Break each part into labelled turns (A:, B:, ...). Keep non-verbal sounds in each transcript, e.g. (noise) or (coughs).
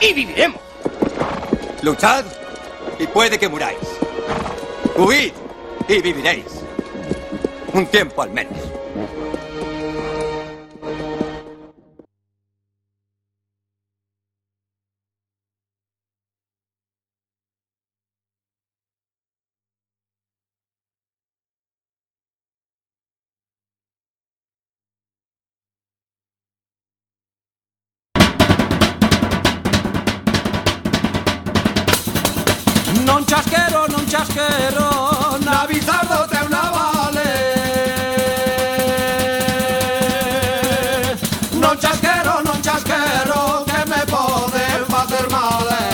A: y viviremos.
B: Luchad y puede que muráis. Huid y viviréis. Un tiempo al menos.
C: Non chasquero, non chasquero, na bizardo teu navale. Non chasquero, non chasquero, que me poden facer mal. eh.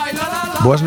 C: Ai, la, la, la.
D: Boas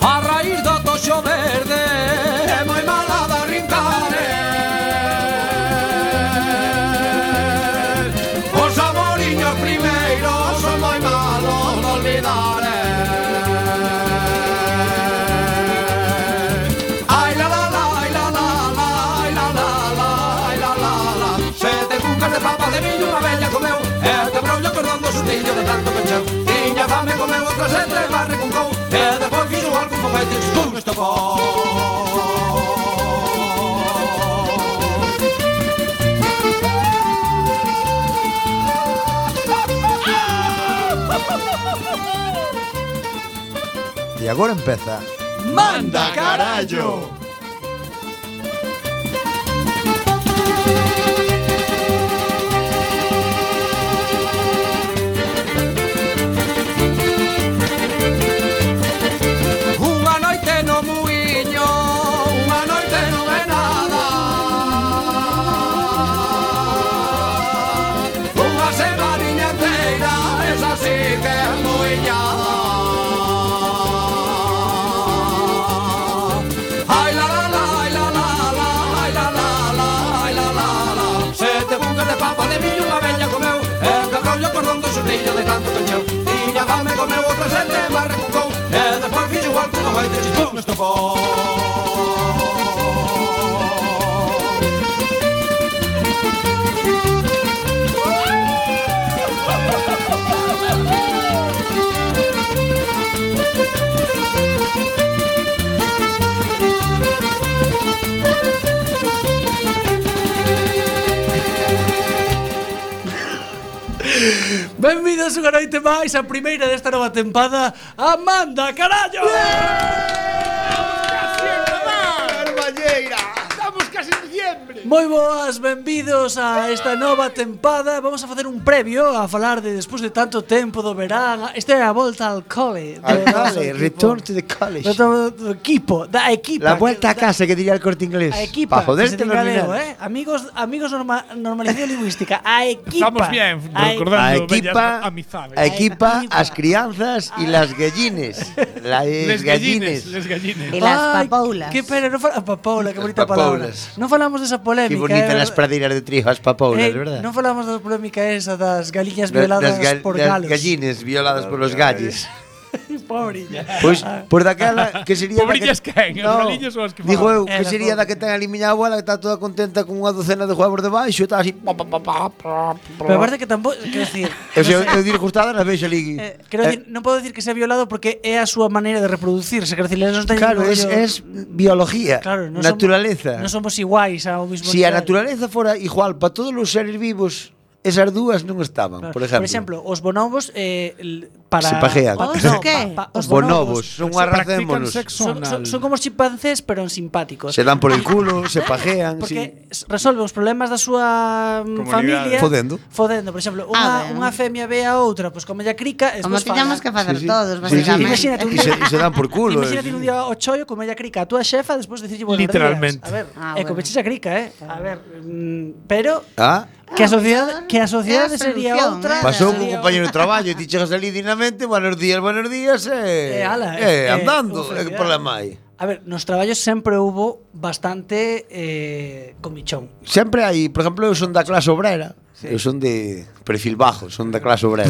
C: A raíz do toxo verde É moi mala da rincare Os amoriños primeiros Son moi malos de olvidar eh. Ai la la la, ai la la la Ai la la la, ai la la la Sete cucas de papa de millo Unha bella comeu E este brollo cordón do sustillo de tanto pecheu Tiña fame comeu outra sete Barre con cou E depois fixo algún foguete Pum, estopou
D: E agora empeza
C: ¡Manda carallo! Unha noite no muiño, unha noite non é nada Unha semaniña inteira, esa sí que é muiñada Ai la la la, ai la la la, ai la la la, ai la la la Sete bucas de papa de millo unha bella comeu E que rollo cordón do xurrillo de tanto cancheu Tiña fame comeu outra sete e barra cucou E despois fixo igual que unha baita chichón estopou
E: Benvidos unha noite máis a primeira desta nova tempada a Manda Carallo! Moi boas, benvidos a esta nova tempada Vamos a facer un previo a falar de despois de tanto tempo do verán Esta é a volta ao cole do
D: Al
E: (laughs) noso
D: cole,
E: equipo.
D: return to the college
E: Do, do- do equipo, da equipa
D: La vuelta a
E: que- da-
D: casa que diría el corte inglés
E: A equipa,
D: Pa
E: que se
D: joderte
E: diga
D: los
E: galego,
D: minares.
E: eh? Amigos, amigos norma, normalización lingüística, a equipa.
F: Estamos bien,
E: a equipa.
F: recordando
D: A
F: bellas
D: equipa,
F: amizades.
D: a equipa,
E: Equipa.
D: as crianzas e las gallines. Las
F: les gallines,
D: gallines.
F: les gallines.
G: E las
E: Ai,
G: papoulas.
E: Que pena, non fala papoula, que
D: As
E: bonita palabra.
D: papoulas.
E: Non falamos desa polémica.
D: Que bonitas
E: eh,
D: las pradeiras de trigo, as papoulas,
E: eh,
D: verdad?
E: Non falamos da polémica esa das galiñas
D: Das-
E: violadas
D: das gal-
E: por
D: das
E: (laughs) galos.
D: gallines violadas polos galles.
E: Pobriña.
D: Pois,
E: Ah.
D: por daquela que
F: (laughs)
D: sería da
F: Pobrillas quen, as galiñas son as que
D: Digo
F: falan.
D: eu, que
E: Era
D: sería da
E: pobre.
D: que ten ali miña abuela que está toda contenta con unha docena de huevos debaixo e está así. pa, pa, pa, pa, pa.
E: Pero aparte que tampouco, quero decir,
D: Eu sei, eu dir gustada nas vexo ali.
E: eh, quero decir, non podo decir que se ha violado porque é a súa maneira de reproducirse, quero decir, eles non teñen
D: Claro,
E: un
D: es,
E: rollo-
D: es biología,
E: Claro, non
D: naturaleza.
E: Somos, non somos iguais ao mismo
D: Si a
E: nivel.
D: naturaleza fora igual para todos os seres vivos, esas dúas non estaban,
E: Claro.
D: por
E: Por
D: exemplo.
E: exemplo, os bonobos eh, l- para
D: Se pajean.
E: pa-
H: Os
E: no,
H: que?
E: pa- pa- os
D: Bonobos, son unha raza de
I: Practican
D: monos.
I: sexo
E: Son,
I: anal.
E: son- son como os chimpancés, pero en simpáticos.
D: Se dan por el culo, (laughs) se pajean, sí.
E: Porque s- resolve os problemas da súa mm, familia
D: Fodendo.
E: Fodendo, por exemplo, unha,
H: ben.
E: unha femia ve a outra, pois come a crica, e
H: Ah, Como
E: despois
H: tiñamos que
E: falan.
H: facer
D: Sí, sí.
H: todos,
D: Sí,
H: basicamente.
D: sí.
E: Imagínate un
D: E se, e se dan por culo. eh,
E: Imagínate un
D: sí.
E: día o chollo come a crica a túa xefa, despois dicirlle buenos
I: Literalmente.
E: días. A ver,
H: Ah,
E: e
H: bueno.
E: comeches a crica, eh? A ver, mm, pero
D: Ah,
E: que a sociedade que a
H: É
E: sociedade
H: a
E: sería
H: solución,
E: outra.
H: eh.
D: pasou
E: sería
D: cun compañeiro de traballo e ti chegas ali dignamente, buenos días, buenos días,
E: Eh,
D: eh,
E: ala, eh,
D: eh, andando,
E: eh,
D: eh, que problema hai?
E: A ver, nos traballos sempre houbo bastante eh, comichón.
D: Sempre hai, por exemplo, eu son da clase obrera, sí. eu son de perfil bajo, son da clase obrera.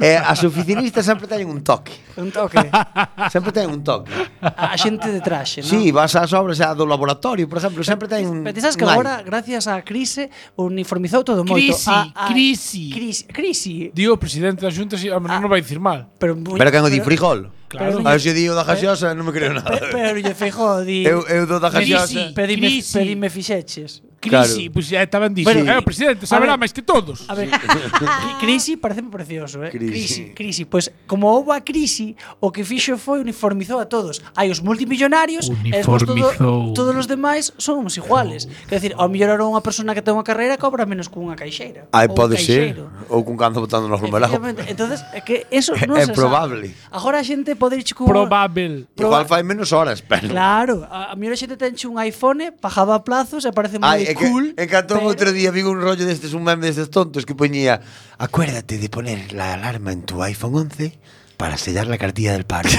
D: eh, as oficinistas sempre teñen un toque,
E: Un toque. a
D: (laughs) sempre teñen un toque.
E: a xente de traxe, non?
D: Si, sí, vas ás obras xa do laboratorio, por exemplo, sempre teñen un
E: Pero ti sabes que
D: un aire.
E: agora, gracias á crise, uniformizou todo moito.
I: Crisi,
E: a, a,
I: crisi.
E: Crisi, crisi.
I: Dio o presidente da Xunta, si, a menor non vai dicir mal.
E: Pero, moi,
D: Pero que non di frijol.
I: Claro.
D: A ver se di o da gaseosa, non me creo
E: Pero,
D: nada.
E: pero lle feijo, di...
D: Eu, eu do da
I: Crisi.
D: gaseosa.
E: Pedime,
I: Crisi.
E: pedime fixeches.
I: Crisi, pois xa estaban dixo.
E: Bueno,
I: Bueno, eh, o presidente
E: a
I: saberá
E: ver.
I: máis que todos.
E: A ver, (laughs) cri- crisi parece precioso, eh?
D: Crisi.
E: Crisi, crisi. Pois, pues, como houve a crisi, o que fixo foi uniformizou a todos. Hai os multimillonarios, e despois
I: Uniformizou.
E: todo, todos os demais somos iguales.
D: Oh.
E: Quer decir, ao mellorar unha persona que ten unha carreira cobra menos que unha caixeira.
D: Ai,
E: ou
D: pode ser.
E: caixeiro.
D: Ou cun canto botando nos lumelajo.
E: Efectivamente. Entonces, é que eso non
D: (laughs) É
E: se
D: probable.
E: Sabe. Agora a xente pode ir con
I: Probable.
D: Igual fai menos horas, pero...
E: Claro, a, a mellor a xente tenche un iPhone, pagaba plazos e parece moi
D: Ai, é que
E: cool.
D: encantó
E: pero-
D: outro día vigo un rollo destes, un meme destes tontos que poñía Acuérdate de poner la alarma en tu iPhone 11 para sellar la cartilla del
E: (laughs)
D: paro.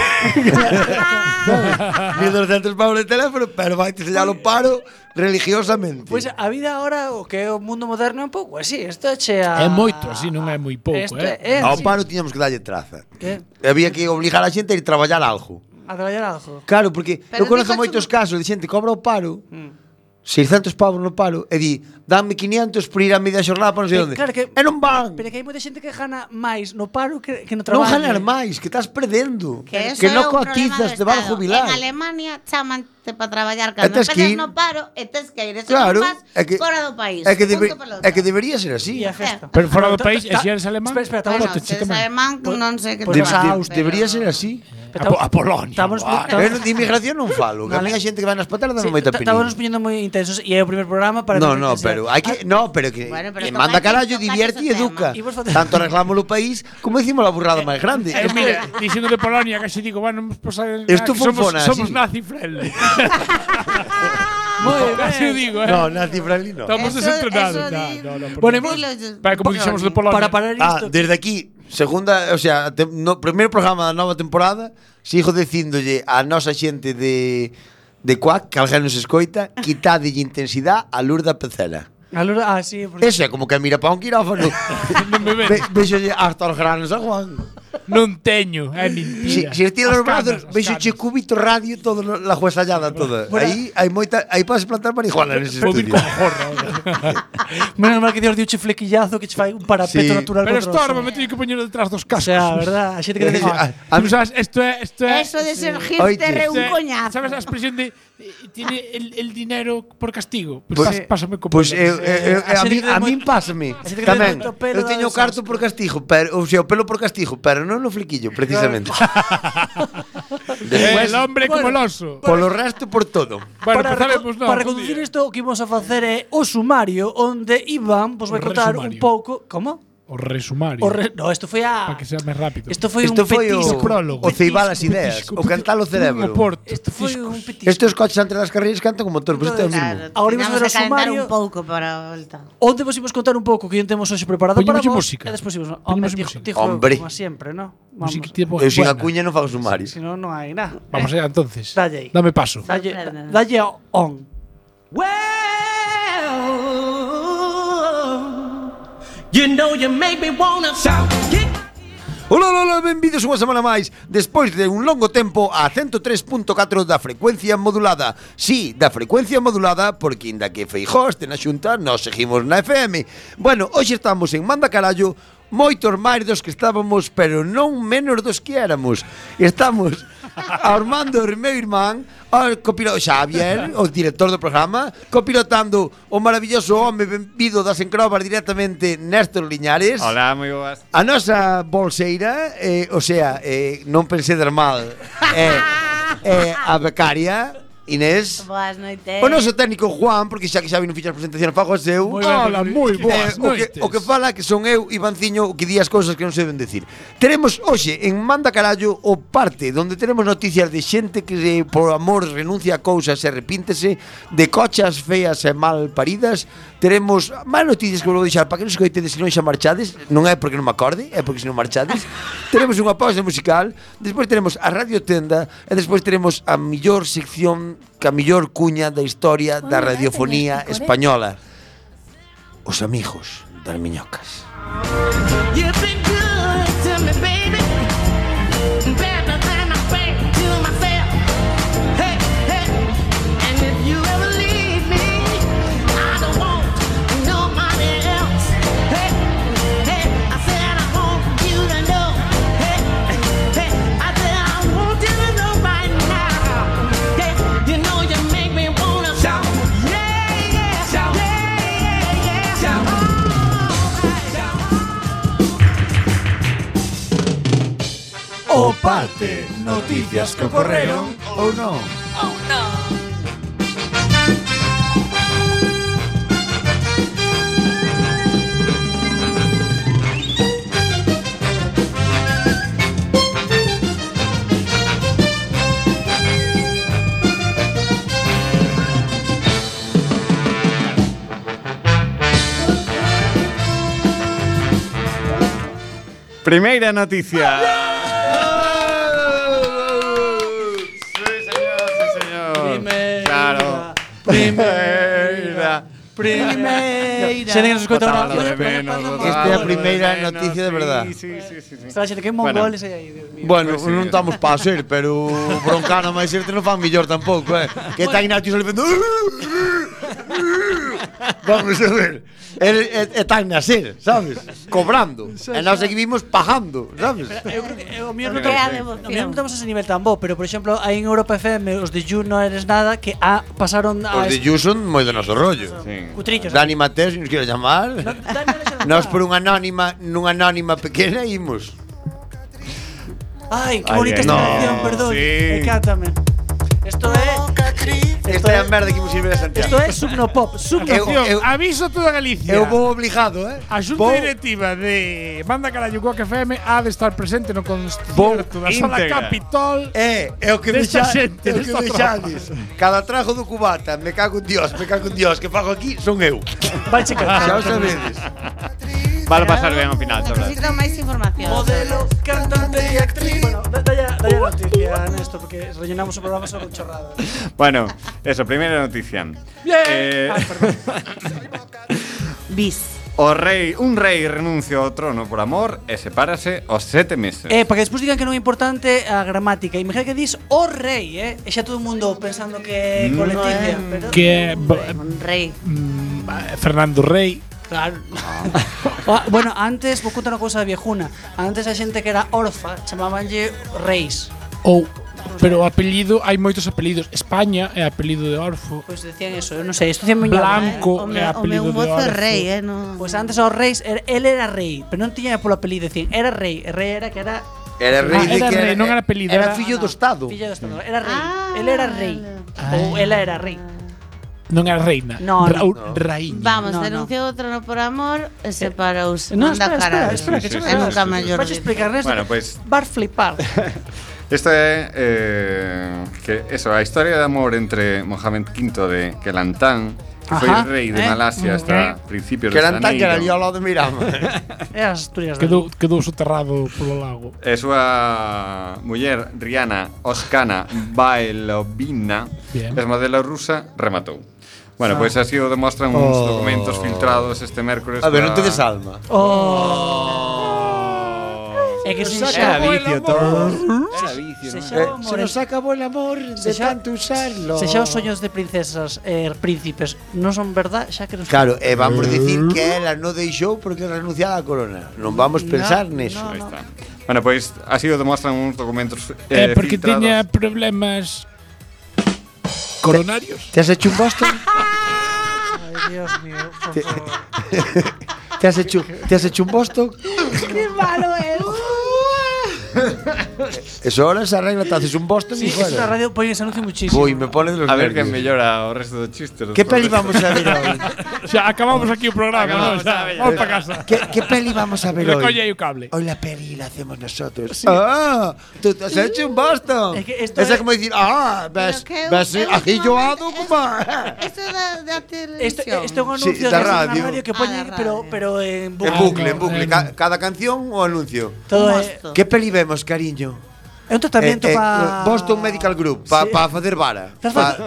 D: 1200 pavos de teléfono, pero vai te sellar o paro religiosamente.
E: Pois a vida ahora, o que é o mundo moderno é un pouco así, isto é chea...
I: É moito así, non é moi pouco,
E: Isto
I: eh.
E: É,
D: Ao
E: así.
D: paro tiñamos que dalle traza.
E: Que?
D: Había que obligar a xente a ir traballar algo.
E: A traballar algo.
D: Claro, porque eu
H: Pero
D: conozco
H: dígoche
D: moitos
H: un-
D: casos de xente que cobra o paro,
E: Mm.
D: 600 pavos no paro, e di, dame 500 por ir a media xornada para non sei
E: Pero
D: onde.
E: Eh, claro que-
D: E non van.
E: Pero que hai moita xente que gana máis no paro que, que no
D: Non
E: traballo.
D: ganar máis, que estás perdendo.
H: Que, eso
D: non
H: é un problema
D: cotizas,
H: do
D: te van a
H: Estado.
D: jubilar.
H: En Alemania chamante para traballar cando
D: tes
H: empezas
D: que ir.
H: no paro e tes que ir. Eso
D: Claro,
H: non faz
D: é que
H: fora do país.
D: É que,
H: Punto
D: debe-
H: pelota.
D: é que debería ser así.
E: E a festa.
I: Pero fora do
E: Bueno, ta-
I: país, e
E: ta-
I: se eres alemán?
E: Espera, espera,
H: Bueno,
E: estamos...
I: Bótache
H: se
I: tamén.
H: alemán,
E: Pois-
H: non sei que
E: pois
D: De-
E: Pues
D: de-
E: va,
H: pero-
D: debería ser así.
E: Pero
D: A,
E: tam-
D: po- a Polonia.
E: estamos-
D: buah,
E: tam-
D: eh, de inmigración non falo, que a mí a xente que vai nas patadas dan moita
E: Estábamos
D: penina.
E: poñendo moi intensos e é o primeiro programa para...
D: No,
E: meter
D: no,
E: intensidade.
D: pero hai que no, pero que
H: Ah. Bueno, pero
D: que
H: toca-
D: manda carallo,
H: toca
D: divierte e
H: ese tema.
D: educa.
E: E vos fode-
D: Tanto arreglamos o país como hicimos la burrada máis grande.
I: Eh, mira, diciendo de Polonia, casi digo, bueno, pues, vamos pasar.
D: Esto fue un
I: somos,
D: fona,
I: somos
D: sí.
I: nazi
E: (laughs)
I: friendly. (laughs) Muy casi digo, eh.
D: No, Nazi Franlin no.
I: Estamos
H: Eso-
I: desentrenados.
H: eso di-
I: No, no, no, por favor.
E: Bueno, hemos-
H: Dilo-
I: Para, como dixemos de Polonia.
E: Para parar
D: Ah,
E: isto...
D: desde aquí, segunda, o sea, te, no, primeiro programa da nova temporada, sigo dicíndolle a nosa xente de de Cuac, que alguén nos escoita, quitadelle intensidad a luz da pecera.
E: Alora- Ah, sí, porque...
D: Ese é como que mira para un quirófano.
I: (laughs) Non me ven.
D: Ve, vexolle hasta os granos a Juan.
I: Non teño, é
D: Si,
I: mentira.
D: si estira
I: As
D: os brazos,
I: canas, as
D: vexolle
I: canas.
D: cubito radio todo no- la juesallada toda.
E: Bueno.
D: Aí hai moita, aí podes plantar marihuana nese
I: Vou vir
D: estudio.
I: con jorra. ahora.
E: (laughs) Menos mal que Dios diuche flequillazo que che fai un parapeto
D: Sí.
E: natural
I: Pero
E: contra o
I: estorba,
E: sol.
I: me teño que poñer detrás dos
E: O
I: cascos.
E: sea, a verdad, a xente que ten...
D: Ah,
I: Eh, A
D: a
I: mí,
D: mí-
I: sabes, esto é, esto é
H: Eso de ser
D: Oye,
H: hipster é
I: esto
H: un
I: é-
H: coñazo.
I: ¿Sabes la expresión de eh, tiene el, el dinero por castigo? Pues, eh,
D: Pues-
I: pas- pásame con
D: Pois
I: pelo.
D: eu, eu, eu,
E: a
D: a,
E: xente
D: min,
E: que ten
D: a min
E: moito-
D: pásame
E: a xente que ten
D: tamén.
E: moito pelo
D: Eu teño
E: dá
D: o carto por castigo, pero o sea, o pelo por castigo, pero non no flequillo, precisamente.
I: Eh,
D: Despois,
I: el hombre como el
E: Bueno,
I: oso.
D: polo resto por todo.
I: Bueno,
E: para
I: pues sabemos, no, un
E: para reconducir
I: día.
E: isto, o que imos a facer é o sumario onde Iván vos
I: O
E: vai contar un
I: resumario.
E: pouco, como?
I: O resumario.
E: O re, no, isto foi a
I: para que sea más rápido.
E: Isto foi
D: Isto
E: un
D: foi o,
E: petisco.
I: prólogo.
D: o ceibar as ideas,
I: Petisco,
D: o cantar o
I: petisco,
D: cerebro.
I: un Oporto.
E: Isto foi un petisco.
D: Estos coches entre las carreiras cantan como motor, pois isto é o
H: Claro,
D: mismo.
E: Ahora imos
H: tiñamos
E: ver o
H: que calentar
E: sumario.
H: un pouco para a volta.
E: Onde vos imos contar un pouco que temos hoxe preparado para
I: Poñémoslle
E: vos.
I: música.
E: E despois imos,
I: Poñémoslle
E: hombre, dijo,
I: música.
E: dijo,
D: Hombre.
E: como siempre, ¿no? Vamos.
I: Música tipo-
D: Eu sin
I: Buena.
D: a cuña non fago sumarios.
E: Si no non hai nada.
I: Vamos allá entonces.
E: Dale ahí.
I: Dame paso.
E: Dalle,
H: Sorprende.
E: dalle ao on.
D: Ola, ola, ola, benvidos unha semana máis Despois de un longo tempo a 103.4 da frecuencia modulada Si, sí, da frecuencia modulada Porque inda que Feijó este na xunta Nos seguimos na FM Bueno, hoxe estamos en Manda Carallo moitos máis dos que estábamos, pero non menos dos que éramos. Estamos Armando, e meu irmán, o copilo Xavier, o director do programa, copilotando o maravilloso home benvido das encrobas directamente Néstor Liñares.
J: Hola, moi boas.
D: A nosa bolseira, eh, o sea, eh, non pensé der mal, eh, eh, a becaria, Inés.
H: Boas noites.
D: O noso técnico Juan, porque xa que xa vino fichar presentación fago as eu.
I: Moi ben, Hola, moi boas
D: o que,
I: noites.
D: o que fala que son eu, Ivanciño, o que di as cousas que non se deben decir. Teremos hoxe en Manda Carallo o parte onde teremos noticias de xente que eh, por amor renuncia a cousas e arrepíntese, de cochas feas e mal paridas. Teremos máis noticias que vos vou deixar para que non escoitedes se non xa marchades, non é porque non me acorde, é porque se
I: (laughs)
D: non marchades. teremos unha pausa musical, despois teremos a Radio Tenda e despois teremos a mellor sección que a mellor cuña da historia da radiofonía
I: eh?
D: española. Os amigos das miñocas.
K: You've been good to me, baby. Better than I think to myself. Hey, hey. And if you ever leave me, I don't want nobody else. Hey, hey. I said I want you to know. Hey, hey. I said I want you to know right now. Hey, you know you make me wanna shout. Yeah, yeah, shout. Yeah, yeah, yeah, shout.
F: O parte, noticias que ocorreron ou non.
J: Primeira noticia. Sí, señor, sí, señor.
I: Primeira.
J: Claro. Primeira.
I: Primeira.
E: Se nos escoita
J: Botaba
E: ahora.
J: lo de menos, botaba
D: Esta é a
J: lo de
D: primeira
J: menos,
D: noticia de verdad.
J: Sí, sí, sí, sí, sí.
E: Está xente que
J: Bueno.
E: mongoles bueno. aí, Dios mío.
D: Bueno,
J: Pois sí.
D: non estamos para ser, pero broncar na máis irte non fan millor tampouco, eh. Que está Ignacio Salvendo. "Uh, Vamos a ver. El, el, está Ignacio, sabes? Cobrando. E nós seguimos pagando, sabes?
E: Eu creo que eh, o mío non
H: Porque é a
E: estamos, o mío non
H: devoción.
E: estamos a ese nivel tan bo, pero por exemplo, aí en Europa FM os de You no eres nada que a pasaron a
D: Os de Yuson moi do noso rollo.
J: Sí.
E: cutrillos.
D: Dani Mateos, se nos quero chamar.
E: Dani Alexandra.
D: Nós por unha anónima, nunha anónima pequena imos.
E: Ay, qué
J: Ay,
E: bonita esta
J: no,
E: canción, perdón.
J: sí.
E: Encántame. Esto es
D: Esta é a merda que imos ir ver a Santiago.
E: esto es Subnopop, Subnopop.
D: Eu- eu-
I: aviso a toda Galicia.
D: Eu vou obligado, eh?
I: A xunta
D: Vou-
I: directiva de Banda Carallo Coac FM ha de estar presente no concerto
J: Vou
I: da Sala
J: íntegra.
I: Capitol.
D: É, é o que
I: Desta
D: deixa-
I: xente,
D: é o que
I: desta
D: deixades. Cada trago do cubata, me cago en Dios, me cago en Dios, que fago aquí son eu.
E: Vai checar.
D: Xa o sabedes.
J: Vale Ah. pasar ben ao final, chaval.
H: Necesito máis información.
E: Modelo, cantante y actriz. Bueno, da- dalle dalle a noticia, Néstor, porque rellenamos o programa só con chorradas.
J: Bueno, eso, primeira noticia. Eh,
H: Bis.
J: o rei, un rei renuncia ao trono por amor e sepárase aos sete meses.
E: Eh, para que despois digan que non é importante a gramática. Imagina que dis o rei, eh? E xa todo o mundo pensando
J: Mm.
E: que é con Leticia. pero...
I: Que
H: Un rei.
I: Mm, Fernando Rey.
E: Claro. Ah, bueno, antes, vou contar unha cousa viejuna. Antes a xente que era orfa chamabanlle reis.
I: Ou Pero o apelido, hai moitos apelidos. España é apelido de Orfo.
E: Pois decían eso, eu non sei, isto decían miña
I: Blanco. Blanco é
E: mamá.
H: o meu, o
I: apelido
H: meu
I: de
H: mozo é
I: Orfo.
H: rei, eh? No.
E: Pois antes os reis, er- el era rei, pero non tiña polo apelido, decían, era rei, e rei era que era
D: Era
I: rei de Ah, era que era- rei, non era apelido,
D: Era
I: era-
D: fillo do Estado.
E: fillo do Estado, era rei,
H: Ah,
E: el era rei,
I: Ah.
E: ou ela era rei.
I: Non é reina.
E: No,
I: Ra-
E: no.
I: ou Raíña.
H: Vamos,
E: No,
I: (laughs)
E: no.
H: denunciou o trono por amor e separouse.
E: No,
H: Manda
E: espera, espera,
H: carallo.
E: espera,
J: que
H: É
J: xa verás.
H: nunca
J: Sí, sí,
H: mellor.
E: Vais explicar ¿eh? Néstor,
J: Bueno, pues, pois-
E: vas flipar.
J: Esta é eh, que eso, a historia de amor entre Mohamed V de Kelantan, que foi
E: Ajá,
J: rei de
E: eh.
J: Malasia hasta principios
D: Que
J: do
D: eran tan que era ali ao
J: xaneiro.
D: lado de Mirama.
E: É as Asturias.
I: Quedou, quedou soterrado polo lago.
J: E súa muller Rihanna Oskana Baelovina,
I: Bien.
J: exmodelo rusa, rematou. Bueno, pois así o demostran uns
D: Oh.
J: documentos filtrados este mércores.
D: A ver, non
J: da-
D: tedes alma.
E: Oh.
J: Oh.
E: E É que se
L: nos
E: xa
L: acabou el
E: vicio
L: amor.
D: ¿Mm?
J: Era vicio,
E: Se
J: ¿no?
E: xa
L: Eh,
E: o
L: Se
E: amor-
L: nos acabó el amor
E: Se
L: de
E: xa-
L: tanto usarlo.
E: se xa os soños de princesas e príncipes non son verdad, xa que nos Mm.
D: Claro, e vamos dicir que ela non deixou porque renunciaba á corona. Non vamos pensar
E: No,
D: neso.
E: no,
J: Ahí
E: no.
J: está. Bueno, pues así os demuestran unos documentos.
I: É
J: eh,
I: porque
J: filtrados.
I: tiña problemas coronarios.
D: Te has hecho un
I: (laughs)
D: Boston?
E: Ay, Dios mío, por
D: uh,
E: favor.
D: Te has hecho, te has hecho un Boston?
K: Qué malo es.
D: Eso ahora se arregla, te haces un Boston
E: Sí,
D: y
E: es una
D: fuera.
E: radio poñen ese anuncio muchísimo.
D: Uy, me pones los
J: A ver que
D: nervios.
J: mellora o resto de chistes.
D: ¿Qué peli vamos a ver
E: (laughs)
D: hoy?
I: Xa acabamos aquí o programa,
J: Acabamos,
I: non? Xa,
J: xa,
I: vamos para casa.
D: ¿Qué, qué peli vamos a ver hoy?
I: Recolle aí o cable.
D: Hoy la peli la hacemos nosotros. ¡Ah! ¡Tú te has hecho un Boston!
E: Es que
D: Es,
E: esto es-
D: como decir, ¡ah! ¿Ves?
H: Pero que-
D: ¿Ves?
E: eh,
H: es un
D: Aquí yo hago
H: momento-
D: como.
H: Esto da, da televisión.
E: Esto, esto é un
D: Sí,
E: anuncio
D: da
E: de radio.
D: radio.
E: radio que
H: Ah,
E: poñen,
H: da
E: pero,
H: radio.
E: pero en bucle.
D: En bucle, en bucle.
I: Bueno,
D: Ca-
I: bueno.
D: cada canción o anuncio.
E: Todo é,
H: Mosto.
D: ¿Qué peli vemos, cariño?
E: é un tratamento
D: Eh, eh,
E: para…
D: Boston Medical Group, para
E: Sí. (laughs)
D: facer vara.
E: Estás
D: Para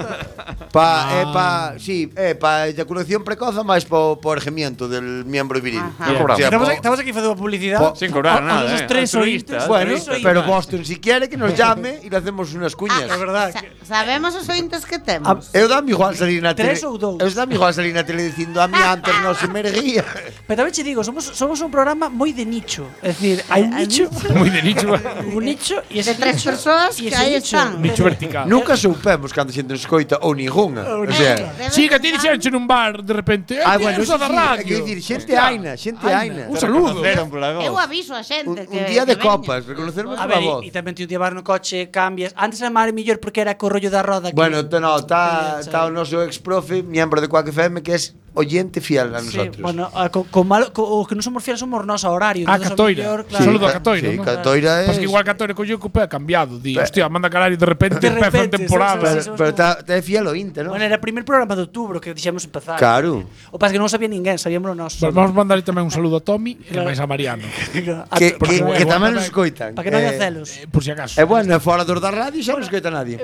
D: pa, eh, pa, sí, eh, pa eyaculación precoz máis po, po ergemiento del miembro viril.
H: Ajá.
D: O
J: cobramos.
D: sea,
E: Estamos,
D: po-
E: aquí- estamos aquí facendo publicidade.
D: Po-
J: Sin
E: A-
J: cobrar
E: a
J: nada.
E: los
J: eh.
E: tres
J: Altruista,
E: oídos.
D: Bueno,
E: Eso iba.
D: pero Boston, si quiere, que nos llame y le hacemos unas cuñas.
H: Ah,
E: verdad
H: sa- sabemos os ointes
D: A-
H: que temos.
D: Eu dame igual salir na tele.
E: Tres ou dous?
D: Eu dame igual salir na tele
E: (laughs)
D: dicindo a mí antes non se me erguía.
E: Pero tamén che digo, somos, somos un programa moi
J: (laughs)
E: de nicho. É dicir, hai un
H: Hai
E: nicho,
I: Moi de nicho.
E: un nicho e ese
H: De tres
E: nicho,
H: persoas
E: y
H: que
E: ese
H: aí
E: nicho.
H: están.
I: Nicho vertical.
D: Nunca soupemos cando xente nos escoita ou ninguna. O sea,
H: Debe
I: Sí, que ti
H: ser-
I: dixeche nun bar de repente. Eh, ah,
D: ah, bueno,
I: bueno, da
D: sí, sí, hai que
I: radio.
D: dicir, xente aina, xente aina.
I: Un saludo.
J: Cero por
E: Ah,
J: la voz.
H: Eu aviso a xente
D: Un,
H: que
D: un día de
H: que veña.
D: copas, reconocermos
E: A
D: a
E: ver,
D: voz.
E: e, e tamén ti un día vas no coche, cambias. Antes era mare mellor porque era co rollo da roda. que-
D: Bueno, te, no, está
E: Sí,
D: está o noso ex profe, miembro de Quack FM, que es oyente fiel a
E: Sí,
D: nosotros.
E: bueno, a, co, co malo, co, o que non somos fieles somos nós ao horario.
I: Ah,
E: entonces, ao
I: Catoira.
E: mellor,
I: Sí, Saludo a
D: Ca-
I: Catoira,
D: Sí,
I: ¿no?
D: Catoira es.
I: Pues que igual Catoira colleu que o pé cambiado, di.
D: eh,
I: Hostia, manda calario de repente,
E: De
I: empeza en
E: repente,
I: temporada.
E: sí, sí, sí.
D: Pero, pero está, está fiel ao Inter, ¿no?
E: Bueno, era o primer programa de outubro que dixemos empezar.
D: Claro.
E: O pas que non o sabía ninguén, sabíamos nós.
I: Pues vamos a mandarle tamén un saludo a Tommy e
E: Claro.
I: máis a Mariano.
E: A-
D: Que,
E: por-
D: que,
I: porque-
D: que tamén nos escoitan.
E: Para que non haya
D: Eh,
E: celos.
I: Eh, por si acaso.
D: E bueno, e fora dos da radio xa non escoita
E: (laughs)
D: nadie.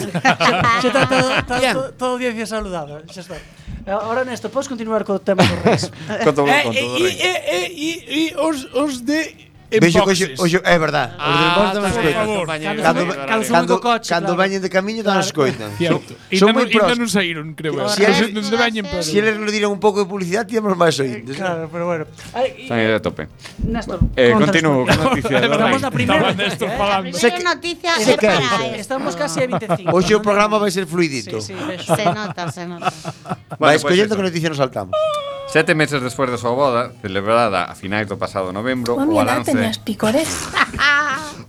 E: Xa está todo, está
D: Bien.
E: todo, todo audiencia saludada, xa está. Ahora Nesto, podes continuar co tema do Reis?
J: Conto
I: Eh,
J: con
I: eh,
J: todo
I: e,
J: rey.
I: e, e, e, e os, os de
D: Vexo que
I: Enboxes.
D: hoxe, hoxe, é verdad. Os del Boston nos
J: tamén,
I: Ah, por
D: escoitan.
I: favor.
J: compañeros.
E: Cando-
J: Horario.
E: cando son
D: Cando,
E: co coche,
D: cando
E: claro.
D: veñen de camiño tamén nos escoitan.
I: Cierto. Ainda
D: Son
I: non,
D: moi
I: ainda non
D: pros.
I: saíron, creo.
H: Si
I: eu.
D: eles-
I: Non sei onde veñen, pero...
D: Se eles nos diran un pouco de publicidade, temos máis eh. ointes.
E: Claro, pero bueno. Ay,
J: Están aí a tope.
E: Néstor,
J: Eh,
E: contanos,
J: continúo con
E: porque-
J: noticias.
E: Estamos na primeira.
I: Estaban Néstor
E: eh.
H: A
I: falando.
H: primeira
D: que-
H: noticia
D: se
H: é para
D: cansa.
H: esto.
E: Estamos casi a 25.
D: Hoxe o programa vai ser fluidito.
E: Sí, sí, vexo.
H: Se nota, se nota.
D: Vai
J: Bueno, pois
D: escollendo
J: eso.
D: que noticia nos saltamos.
J: Sete meses despois da súa boda, celebrada a finais do pasado novembro, o balance,
K: picores.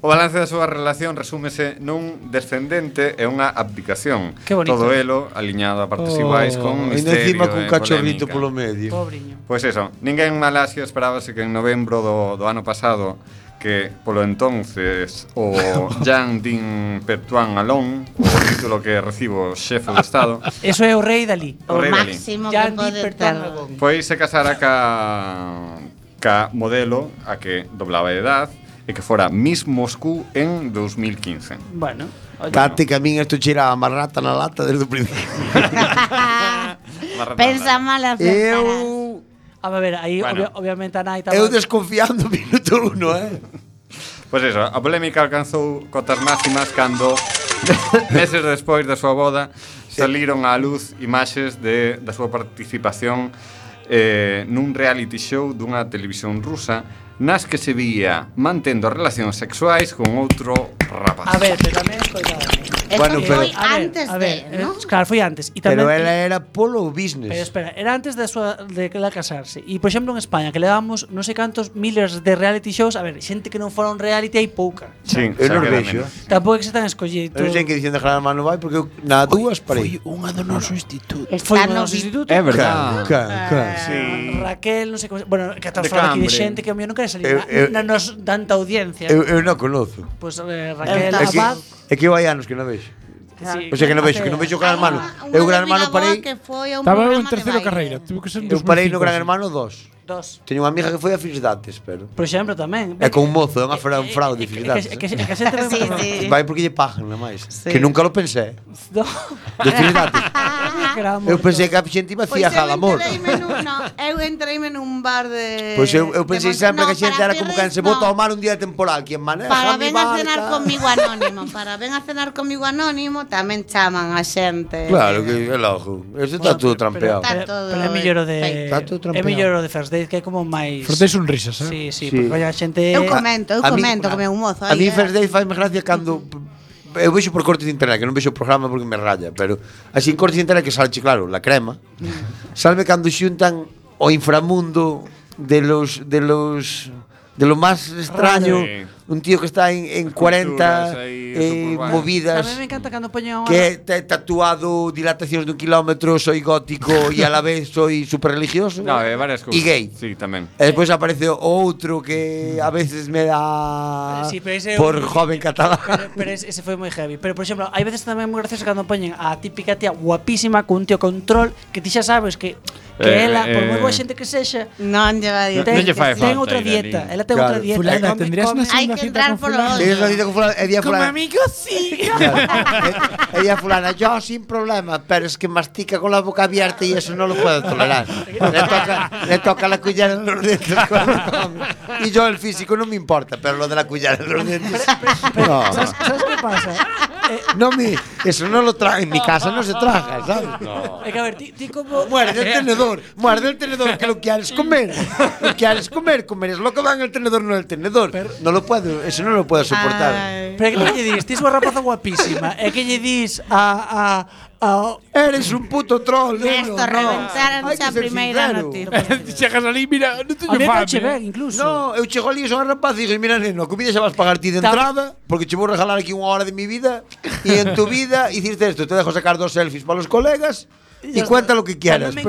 J: o balance da súa relación resúmese nun descendente e unha abdicación.
E: Que bonito. Oh.
J: Todo elo aliñado a partes iguais con
D: Ainda
J: misterio
D: Oh, encima cun
J: e
D: cachorrito
J: polémica.
D: polo medio.
E: Pobriño.
J: Pois eso, ninguén en Malasia esperábase que en novembro do, do ano pasado que polo entonces
E: (laughs)
J: o Yang Din Pertuan Alon, o título que recibo xefe do Estado,
E: Eso é o rei Dalí.
H: O
J: Rei Dalí.
H: máximo
E: Ya
H: que
E: ni
H: pode ter.
E: perdón.
J: Pois se casara ca ca modelo a que doblaba de edad e que fora Miss Moscú en 2015.
E: Bueno,
D: Tate que a min isto cheiraba a rata na lata desde o principio.
H: (laughs) Pensa
J: (laughs)
H: mal as Eu...
D: Eu...
E: a ver, aí
J: Bueno.
E: obvia- obviamente a nai
D: Eu desconfiando minuto uno, eh?
J: Pois eso, a polémica alcanzou cotas máximas cando (laughs) meses despois da súa boda saliron á luz imaxes de, da súa participación eh, nun reality show dunha televisión rusa nas que se vía mantendo relacións sexuais con outro rapaz.
E: A ver, pero tamén escoitaba.
H: Eso
D: Bueno,
H: foi
D: pero-
H: antes
E: a ver,
H: de,
E: eh,
H: ¿no?
E: Claro, foi antes. E tamén
D: Pero ela era
E: Pero
D: polo business.
E: espera, era antes da súa de que la casarse. E por exemplo en España que levamos non sei cantos millers de reality shows, a ver, xente que non fora un reality hai pouca.
J: Sí,
D: Eu
J: xa
D: non
J: queda
D: vexo.
J: menos.
E: Tampouco é que se tan escollido.
D: Eu non sei que dicen de Gerard Manu vai porque eu na dúas parei.
I: unha do noso instituto.
E: Foi
H: Está
E: no
H: no
E: noso instituto.
J: É
D: Ca,
J: verdad.
D: ca, ca.
E: Ah.
J: Sí.
E: Raquel, non sei como, bueno, que estamos
J: De
E: falando aquí de
J: Cambre.
E: xente que a mí non quere salir na,
D: Eu- eu-
E: na nos tanta audiencia.
D: Eu, eu non conozo.
E: Pois eh, Raquel
D: É que,
E: Abad,
D: é que eu hai anos que non vexo.
E: sí,
D: O sea que non vexo, que non vexo o
H: Ah,
D: Gran Hermano. Eu Gran Hermano parei,
I: Estaba eu en terceiro carreira. Tuve que ser en
D: eu parei no
I: 2005,
D: Gran
I: así.
D: Hermano 2.
E: Dos.
D: Teño unha amiga que foi a Filidates, pero...
E: Por exemplo, tamén.
D: É con un mozo, é unha fra- un fraude,
E: Filidates.
D: Filidates.
E: Que, que, que a xente
H: Sí,
E: vai-
H: sí.
D: Vai porque lle pagan, na máis.
H: Sí.
D: Que nunca lo pensé.
E: No.
D: De
H: (laughs)
D: Filidates.
E: Gramo.
D: Eu pensei que a xente iba
H: Pois
D: facía
H: eu
D: jalamor.
H: entreime nun, no, eu entreime nun bar de...
D: Pois eu, eu pensei
H: Eh, de Monte-
D: sempre
H: No,
D: que a xente
H: para
D: era como que
H: Pirris,
D: se bota
H: no.
D: ao mar un día temporal, quien maneja
H: Para
D: mi Eh,
H: ven a
D: barca.
H: cenar comigo anónimo, para ven a cenar comigo anónimo tamén chaman a xente.
D: Claro, que é logo. Eso está todo trampeado.
H: Está
E: Pero,
H: todo
E: pero é mellor o de...
H: fake.
D: Está todo
E: É
D: trampeado.
E: mellor o de First Date, que é como máis...
I: Frontei sonrisas, eh?
E: Sí, sí,
D: Sí.
E: porque vai a xente...
H: Eu comento, eu
D: A- a mí-
H: comento como é un mozo.
D: A
H: aí,
D: mí
H: eh.
D: First Day faime gracia cando eu vexo por corte de internet, que non vexo o programa porque me raya, pero así en corte de internet que salche, claro, la crema. Salve cando xuntan o inframundo de los de los de lo más extraño,
J: Sí.
D: un tío que está en, en 40
J: ahí,
D: eh,
J: suburbanas.
E: A
D: movidas.
E: mí me encanta cando poñen...
D: que é te- tatuado dilatacións dun kilómetro, soy gótico e a la vez soy super religioso.
J: No, eh, varias cousas.
D: E gay.
J: Sí, tamén.
D: E despois aparece outro que a veces me dá
E: Sí, pero ese é
D: por
E: un-
D: joven catalán.
E: Pero, pero ese, ese foi moi heavy. Pero, por exemplo, hai veces tamén moi gracioso cando poñen a típica tía guapísima cun tío control que ti xa sabes que, que
J: Eh,
E: ela, por moi
J: eh.
E: boa xente que sexa,
H: Non lleva
J: No,
H: dieta.
J: non lle fai
E: ten
J: falta
E: outra
J: ir
E: dieta. eh,
J: ali.
E: Ela ten outra
D: Claro.
E: dieta.
I: Fulana,
E: Come-
I: tendrías
D: (laughs)
I: una
E: come-
H: Hay
I: segunda
H: que
I: cita
H: entrar
I: con
H: por los
I: fulano.
H: dos.
D: Tienes ratito con fulana, é día
I: Como
D: fulana.
I: amigos,
D: (laughs)
I: sí.
D: É, é día fulana, yo sin problema, pero es que mastica con la boca abierta y eso no lo puedo tolerar. Le toca, le toca la cuchara en los dientes cuando come. Y yo el físico no me importa, pero lo de la cuchara en los dientes... No,
E: Sabes, sabes que pasa?
D: no me, eso no lo trae, en mi casa no se traga, ¿sabes?
E: É que a ver, ti, ti como...
D: Muerde
E: (laughs)
D: el tenedor, muerde el tenedor, que lo quieres comer. Lo quieres comer, comer es lo que va en el tenedor, no en el tenedor. No lo puedo, eso no lo puedo soportar.
H: Ai.
E: Pero é que non lle dis, tis unha rapaza
D: (laughs)
E: guapísima, é que lle dis a... a, a
D: Eres un puto troll, Lelo,
H: Esto
D: no.
H: reventaron
D: Hai que
H: xa a
D: ser
H: primeira
D: sincero.
H: noticia.
I: Chegas ali, mira, non
E: a
I: teño
E: mí non
I: fame.
E: che
I: eh.
E: ven, incluso.
D: No, eu chego ali e son rapaz e digo, mira, neno, a comida xa vas pagar ti de entrada, porque che vou regalar aquí unha hora de mi vida, e en tu vida hiciste esto, te dejo sacar dos selfies para los colegas, e
E: Ya está.
D: cuenta lo que quieras,
E: Tamén me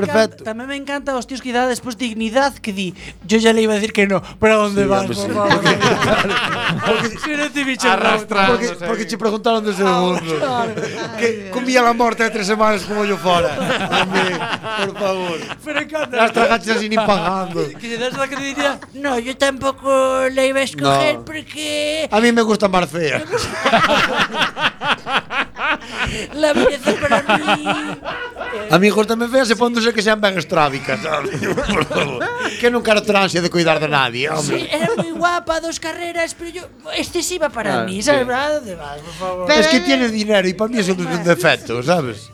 E: Encanta,
D: perfecto.
E: tamén me encanta os tíos que dá despois dignidad que di. Yo ya le iba a decir que no, pero a onde
D: Sí,
E: vas,
D: hombre,
E: por
D: sí.
E: favor?
D: Porque- claro,
E: Si
J: (laughs)
E: non te bicho
J: Arrastra.
D: Porque, porque che preguntaron desde o mundo Que comía la morte de tres semanas como yo fora
E: (laughs)
D: Hombre, por favor
E: Pero encanta.
D: Las tragaches así ni pagando
E: Que se das la credibilidad. No, yo tampoco la iba a escoger
D: No.
E: porque
D: A mí me gusta Marcea
E: (laughs) la belleza para mí.
D: A mí gustame fea se pon que sean ben estrábicas
E: (laughs)
D: sabe? Por favor Que non quero transia de cuidar de nadie,
E: Sí,
D: hombre
E: era muy guapa, dos carreras, pero yo. Excesiva para
D: Ah,
E: mí,
D: sí.
E: ¿sabes? ¿Dónde vas, por favor?
H: Pero
D: es que
H: él-
D: tiene dinero y para mí eso no es un defecto, ¿sabes?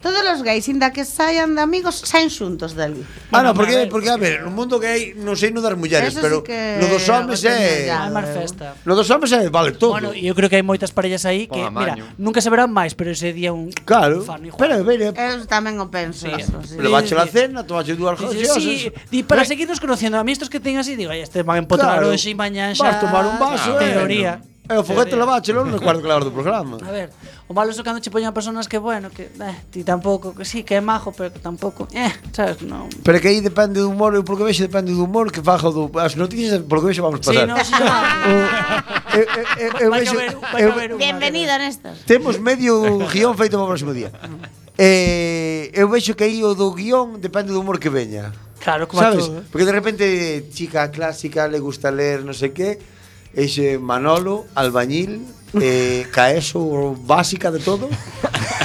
H: Todos os gays, inda que saian de amigos, saen xuntos dali.
D: Ah, no, porque, porque a ver, no mundo gay non sei no das mulleres,
H: Eso
D: pero
H: sí que
D: no dos eh. homes
H: lo teño
D: é
H: ya.
E: Almar Festa.
D: no dos homes é vale todo.
E: Bueno, yo creo que hay moitas parellas aí que,
J: Pon a
E: mira,
J: maño.
E: nunca se verán máis, pero ese día un
D: claro.
E: fan hijo.
D: Pero a ver, eh,
H: Eu tamén o
E: Sí.
H: penso. eso, sí.
D: levache
E: sí,
D: la
E: sí.
D: cena, tomache dúas
E: Dice,
D: gaseosas.
E: sí, di
D: Eh.
E: para seguirnos conociendo a mí estos que tengo así, digo, "Ay, este van a empotar
D: Claro.
E: hoxe e mañá xa.
D: Vas tomar un vaso,
E: en
D: eh.
E: teoría.
D: E o foguete
E: Teoría.
D: levache, non recuerdo que la hora do programa.
E: A ver, o malo é cando che poñan personas que bueno, que eh, ti tampouco, que sí, que é majo, pero que tampouco, eh, sabes, non.
D: Pero que aí depende do humor, eu porque vexo depende do humor que fajo do as noticias, porque vexo vamos
E: Sí,
D: pasar.
E: non,
D: (laughs)
E: sí, non.
D: O- eu- eu- eh, eu- eu
E: Vai
D: vexo-
E: caber, vai
D: eu-
E: caber unha.
H: Bienvenido, Néstor.
D: Temos medio guión feito para o próximo
E: (laughs)
D: día. Eh, eu vexo que aí o do guión depende do humor que veña.
E: Claro, como a
D: Sabes?
E: todo. ¿eh?
D: Porque de repente chica clásica le gusta leer no sé qué, eixe Manolo,
E: (laughs)
D: albañil, eh, caeso básica de todo.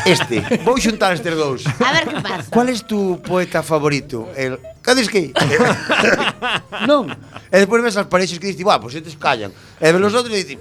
D: Este, vou xuntar estes dous.
H: A ver que pasa.
D: ¿Cuál es tu poeta favorito? El
E: (laughs)
D: Kandinsky. non. E despois ves as parexas que dicen, "Buah, pois estes callan." E ves os outros e dicen,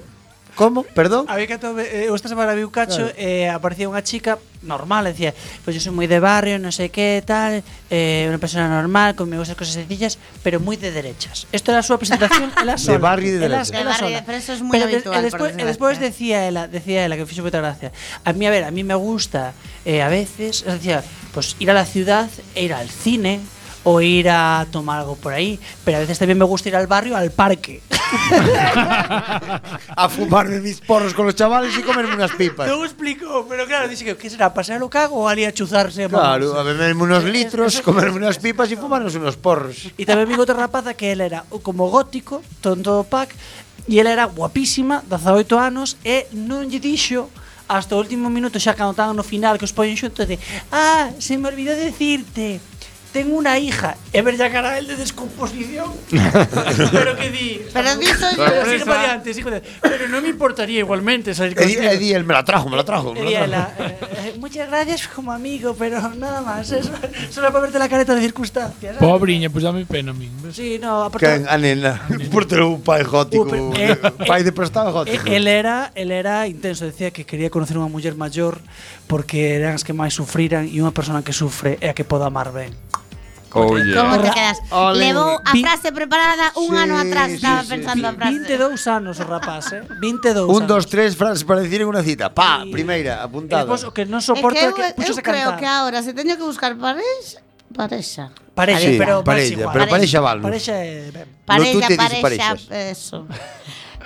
D: "Como? Perdón?"
E: A ver que atove, eh, eu esta semana vi un cacho e eh, aparecía unha chica normal, decía, pois pues eu sou moi de barrio, non sei que, tal, eh, unha persona normal, con me gustan cosas sencillas, pero moi de derechas. Isto era a súa presentación, ela sola.
D: barrio e de
E: ela-
D: derechas.
H: De
E: ela
H: barrio e
E: sola.
H: de preso es moi
E: Pero des-
H: habitual,
E: E
H: por
E: despois, e
H: desgracia.
E: despois decía ela, decía ela, que me fixo moita gracia, a mí, a ver, a mí me gusta, eh, a veces, decía, pois pues, ir a la ciudad e ir al cine, o ir a tomar algo por ahí, pero a veces también me gusta ir al barrio, al parque.
D: A fumarme mis porros con los chavales y comerme unas pipas.
E: No explicó, pero claro, dice que ¿qué será? ¿Pasar lo cago o ali a chuzarse? a
D: Claro, a
E: mamarse?
D: beberme unos litros, comerme unas pipas y fumarnos unos porros.
E: Y también vi otra rapaza que él era o como gótico, tonto pack, y él era guapísima, 18 anos, e non lle dixo hasta o último minuto, xa cando estaban no final que os poñen xuntos de, ah, se me olvidou decirte tengo una hija. Es verdad que ahora el de
D: (laughs)
E: descomposición. pero que di.
H: Pero di
E: Pero sí, no
H: soy-
J: Sorpresa.
E: para adelante, sí, joder. Pero no me importaría igualmente salir
D: Edi,
E: contigo.
D: Edi, él me la trajo, me la trajo. me la
E: Edi,
D: trajo.
E: la- eh, eh, muchas gracias como amigo, pero nada más. es- solo para verte la careta de circunstancias. ¿sabes?
I: Pobriña, pois dame pena pues a min. ves?
E: Sí, no,
D: Que
E: aparte. eh,
D: a nena, por ter un pai gótico,
E: Uh, pero, eh,
D: pai de prestado
E: Eh,
D: gótico.
E: Él era, él era intenso, decía que quería conocer unha muller maior porque eran as que máis sufriran e unha persona que sufre é a que poda amar ben.
J: Oh,
H: Como
J: yeah.
H: te quedas? Levou a
E: Vi-
H: frase preparada
D: Sí,
H: un ano atrás,
D: sí,
H: estaba
D: sí,
H: pensando a frase.
E: 22 anos o rapaz,
D: (laughs)
E: eh? 22 anos.
D: Un, dos, tres, frases para decir en una cita. Pa,
E: Sí.
D: primeira,
E: E
D: apuntada.
E: despois o que non
H: É
E: soporta
H: que
E: é
H: eu,
E: que, que
H: eu
E: puxose a
H: creo
E: cantar.
H: que agora se teño que buscar parexa, parexa.
E: Parexa,
D: Sí,
E: pero
D: parella,
E: parexa,
D: pero
H: parexa
D: val, non?
E: Parexa é ben.
D: tú te
H: Parella,
D: dices
H: parexa,
D: parexas.
H: eso.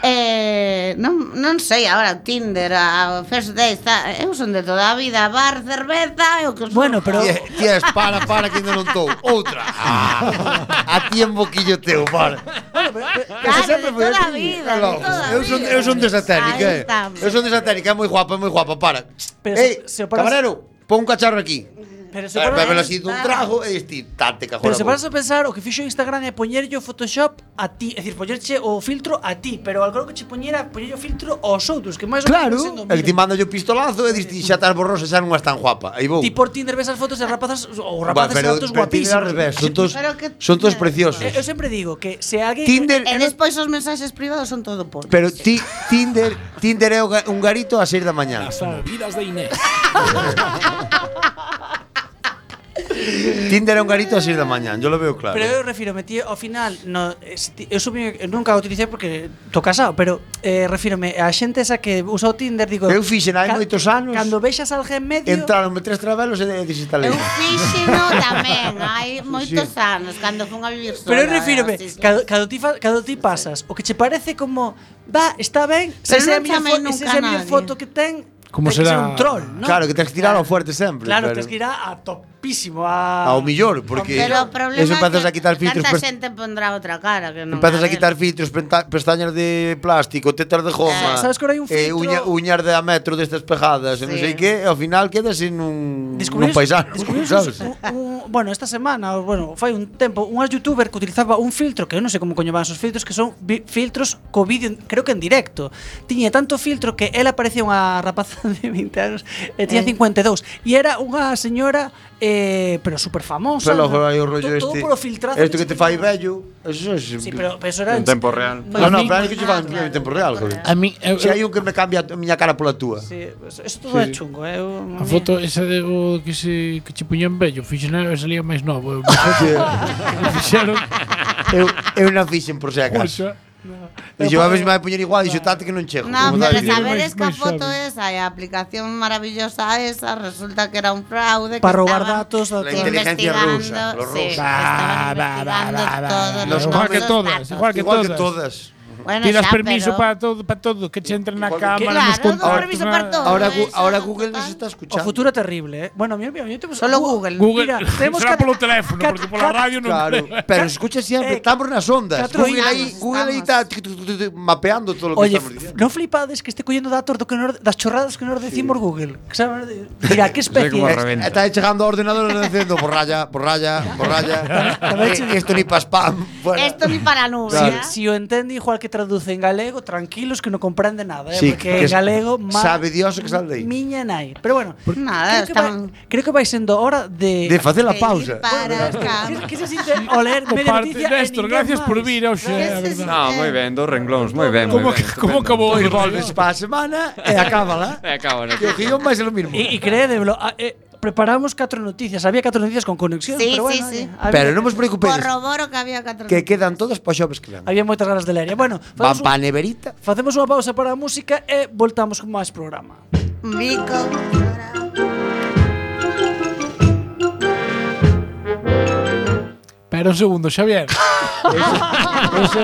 H: Eh, non, non sei agora Tinder, a First Days ta, Eu son de toda a vida Bar, cerveza e o que
E: Bueno, pero
D: Tía, tías, para, para, que ainda non estou.
E: (laughs)
D: Outra. Ah, a ti en boquillo teu, para.
H: Claro, de
D: foi así.
H: toda a vida,
D: Claro.
H: de toda a
D: Eu son,
H: vida.
D: eu son desa técnica,
H: Ahí
D: eh.
H: estamos.
D: Eu son desa técnica, é moi guapa, é moi guapa, para.
E: Pero
D: Ei,
E: se- se o paras-
D: camarero, pon un cacharro aquí.
E: pero se
D: Ver,
E: paras,
D: Bébelo así dun trago e diste, tate,
E: pero se
D: cajora.
E: paras a pensar o que fixo Instagram é poñerlle o Photoshop a ti, é dicir, poñerche o filtro a ti, pero algo que che poñera poñerlle o filtro aos outros, que máis ou menos
D: Claro,
E: sendo o
D: el que ti
E: mismo.
D: manda yo pistolazo e diste, xa estás borrosa, xa non estás tan guapa. Aí vou.
E: Ti por Tinder ves as fotos de rapazas ou
D: Va,
E: rapazes e outros
D: pero Tinder al
E: guapísimos.
D: revés, son todos,
H: Pero que-
D: son todos preciosos.
E: Eh, Eu sempre digo que se alguén
D: Tinder,
H: E despois os mensaxes privados son todo por.
D: pero ti, Tinder, Tinder é o ga- un garito ás 6
I: Ah,
D: da mañá.
I: Movidas de Inés.
D: Tinder é un garito ás 6 da mañá, yo lo veo claro.
E: Pero eu refírome, ti ao final no, eh, si ti- eu supoño que nunca o utilicei porque estou casado Pero eh, refírome, a xente esa que usa o Tinder digo,
D: Eu fixen hai
E: ca-
D: moitos anos.
E: Cando vexas alguén en medio
D: Entraronme tres travelos e de- desinstalei.
H: Eu fixeno tamén, hai moitos anos, cando fun a vivir sola.
E: Pero eu
H: eh,
E: refírome,
H: sí, sí.
E: cando, cando, ti, fa- cando ti pasas O que che parece como, va, está ben Se esa
H: Pero
E: é a
H: non
E: miña
H: chamei
E: fo-
H: nunca
E: se esa é a miña
H: a nadie.
E: foto que ten
I: Como
E: ten que
I: será-
E: ser un troll, ¿no?
D: Claro, que tens que tirar ao fuerte sempre.
E: Claro,
D: pero-
E: tens que ir a, a topísimo a...
D: Ao millor, porque
H: Pero o problema
D: eso empezas
H: é que
D: a quitar filtros.
H: Tanta
D: pres-
H: xente pondrá outra cara que non
D: Empezas a
H: ver.
D: quitar filtros, penta- pestañas de plástico, tetas de goma,
E: Sabes que ahora hai un
D: eh,
E: filtro-
D: uña, uñas de a metro destas pegadas, e non
H: Sí.
D: sei que, e ao final quedas en un,
E: Descubriu-
D: nun paisano,
E: descubriu-
D: (laughs) sabes?
E: un- un- bueno, esta semana, ou, bueno, fai un tempo, unha youtuber que utilizaba un filtro que eu non sei como coño van esos filtros, que son vi- filtros co vídeo, en- creo que en directo. Tiña tanto filtro que ela parecía unha rapaza (laughs) de 20 anos, e
H: Eh.
E: tiña 52, e era unha señora eh, pero super famosa.
D: Pero logo hai o rollo
E: Todo
D: este.
E: polo filtrazo.
D: Esto
E: che
D: que te fai
E: tiña.
D: vello, eso é
E: Sí, pero, pero eso era
J: En tempo real.
D: No, no,
I: mí-
D: pero hai que che fan
H: Ah,
D: en tempo real, joder.
I: A eh, min eu,
D: Se hai
I: eu,
D: un que me cambia a miña cara pola túa.
E: Sí, eso eso todo é chungo, eh. eu-
I: a foto (laughs) esa de o que se que che puñan bello, fixena e salía máis novo. Eu,
H: (laughs)
I: fixeron Pois
D: Eu, eu non fixen por se acaso.
I: Oxa.
D: Dixo,
I: pois
D: a ver se me vai poñer igual, dixo, tate que non chego.
H: No,
D: Como tal,
H: pero
D: dixo,
H: sabedes
I: máis-
H: que a
I: máis
H: foto
I: sabe.
H: esa e a aplicación maravillosa esa resulta que era un fraude que
E: Para roubar
H: estaban
E: datos Ah, da
D: La inteligencia
H: investigando,
D: rusa, los rusos.
H: sí, que estaban investigando todos los
I: Igual que
H: nosos
I: todas,
H: datos.
I: igual que
D: Igual que
I: todas.
D: todas.
H: Bueno,
I: Tiras
H: xa,
I: permiso
H: pero-
I: para todo, para todo, que che entre na
D: Igual que-
I: cámara,
H: Claro,
I: nos contactos,
H: dou permiso para
I: nada.
H: todo.
D: Ahora, Gu-
H: eso,
D: ahora
H: no,
D: Google nos
H: total.
D: está escuchando.
E: O futuro é terrible, eh. Bueno, mira, mira, yo tengo
H: Solo Google.
I: Google,
E: Mira, temos
I: será
E: cat-
I: polo teléfono,
E: cat-
I: porque pola
E: cat-
I: radio non.
D: Claro, pero escucha
E: Eh,
D: siempre, estamos nas ondas.
E: catro
D: Google aí,
H: estamos,
D: Google aí está tu, tu, tu, tu, mapeando todo lo que
E: Oye,
D: estamos
E: f-
D: diciendo.
E: non flipades que este collendo datos do que nos, das chorradas que nos decimos Google. Que sabe, mira,
D: (laughs)
E: que especie
J: como
E: é?
J: arrebe- reventa.
D: Está chegando ao ordenador e dicendo borralla, borralla, (laughs) borralla.
E: tamén
D: Eh, Esto ni pa spam. fuera.
H: Esto ni para
D: (laughs)
H: a nube.
D: Claro.
H: ¿eh?
E: Si o entende igual que traduce en galego, tranquilos que non comprende nada, eh,
D: Sí,
E: porque
D: que
E: en
D: s-
E: galego ma-
D: sabe Dios o que sal de aí.
E: Miña nai. Pero bueno,
H: Nada,
E: creo, que vai,
H: están-
E: creo que vai sendo hora de
D: De facer a
H: Que
D: pausa.
H: ir Para
E: que,
H: acá.
E: que se sinte o leer media
I: Parte,
E: noticia e
I: Néstor,
E: ninguén
I: gracias por
E: máis.
I: vir, oxe,
H: Que
I: a
H: se
I: verdade.
J: No, moi ben, dos renglóns, moi ben, moi
I: Como
J: ben.
I: como acabou
D: Pois
I: o
D: volves pa a semana e acábala.
J: Eh, cabrón.
D: Que o guión máis é lo mismo.
E: E, e creédevelo, a- eh, preparamos catro noticias, había catro noticias con conexión,
H: Sí,
E: pero
H: sí,
E: bueno,
H: sí.
E: oye, había-
D: Pero non vos preocupedes,
H: Corroboro que había catro.
D: que quedan todas pa xoves que ven.
E: Había moitas ganas de ler. E, Bueno,
D: Van
E: facemos,
D: pa
E: un,
D: neverita.
E: facemos unha pausa para a música e voltamos con máis programa.
H: Mico.
I: Pero un segundo,
H: (laughs)
I: Xavier.
D: Eso,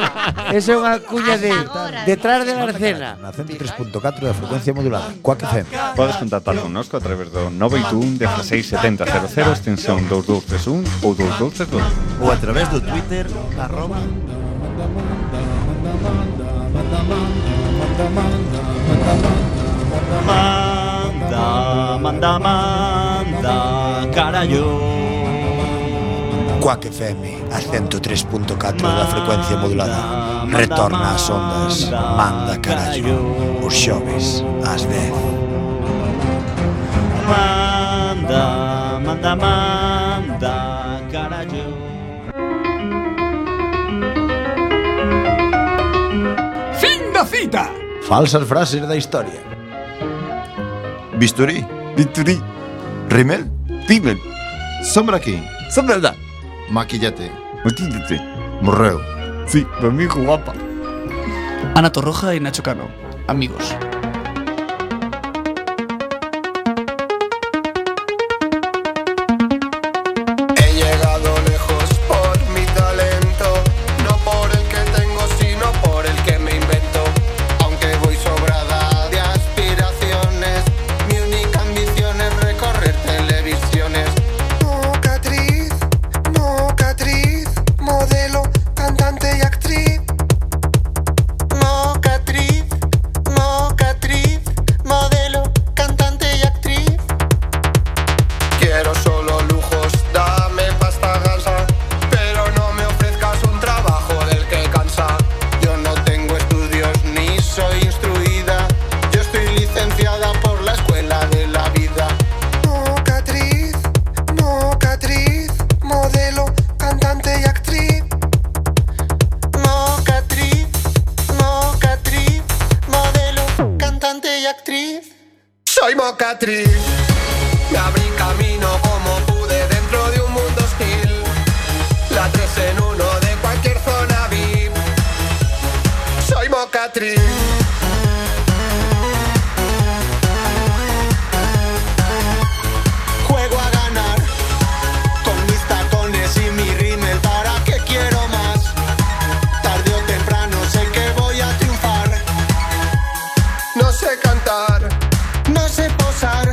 D: eso é unha cuña de
H: Hasta agora.
D: detrás de la escena.
F: Na 103.4 da frecuencia modulada. Cuac FM.
L: Podes contactar connosco a través do 981 16 70 00 extensión 2231 ou 2232.
F: Ou a través do Twitter arroba
L: Manda, manda, manda, carallo.
D: Cuac FM a 103.4 da frecuencia modulada Retorna ás ondas Manda carallo Os xoves ás 10
C: Manda, manda, manda, carallo.
M: Fin da cita.
D: Falsas frases da historia
J: Bisturí. Bisturí. Rimel. Rimel. Sombra aquí. Sombra Maquillate. Maquillate. Morreo. Sí, mi amigo guapa.
E: Ana Torroja y Nacho Cano. Amigos.
N: He llegado lejos por mi talento, no por el que tengo, sino por el que me invento. Aunque voy sobrada de aspiraciones, mi única ambición es recorrer televisiones. Nunca actriz, nunca actriz, modelo, cantante y actriz. Nunca actriz, nunca actriz, modelo, cantante y actriz. Quiero solo lujos, dame pasta gansa, pero no me ofrezcas un trabajo del que cansa. Yo no tengo estudios ni soy instruida, yo estoy licenciada por la escuela de la vida.
F: No catriz, no catriz, modelo, cantante y actriz.
N: No catriz, no catriz, modelo, cantante y actriz. Soy mocatriz. Me abrí camino como pude dentro de un mundo hostil. La tres en uno de cualquier zona VIP. Soy mocatriz. Juego a ganar con mis tacones y mi rímel. ¿Para qué quiero más? Tarde o temprano sé que voy a triunfar. No sé cantar, no sé posar.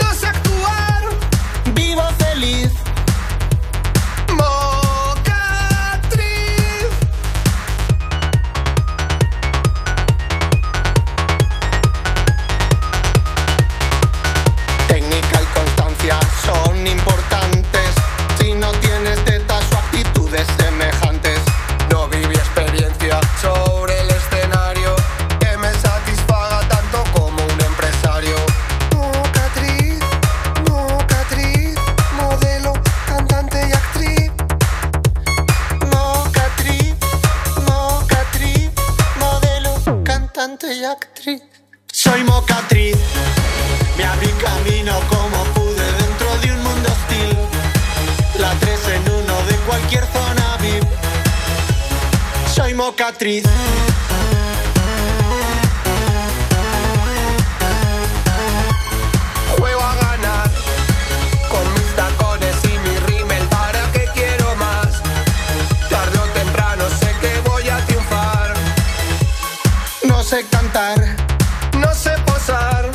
N: No sé actuar, vivo feliz. Mocatriz. Técnica y constancia son importantes. Si no tienes tetas o actitudes semejantes, no viví experiencia sobre el escenario que me satisfaga tanto como un empresario.
F: Nunca actriz, nunca actriz, modelo, cantante y actriz.
N: Moca actriz, moca actriz, modelo, cantante y actriz. Soy mocatriz, me abrí camino como pude dentro de un mundo hostil. La tres en uno de cualquier zona VIP. Soy mocatriz. Juego a ganar con mis tacones y mi rímel. ¿Para qué quiero más? Tarde o temprano sé que voy a triunfar. No sé cantar, no sé posar,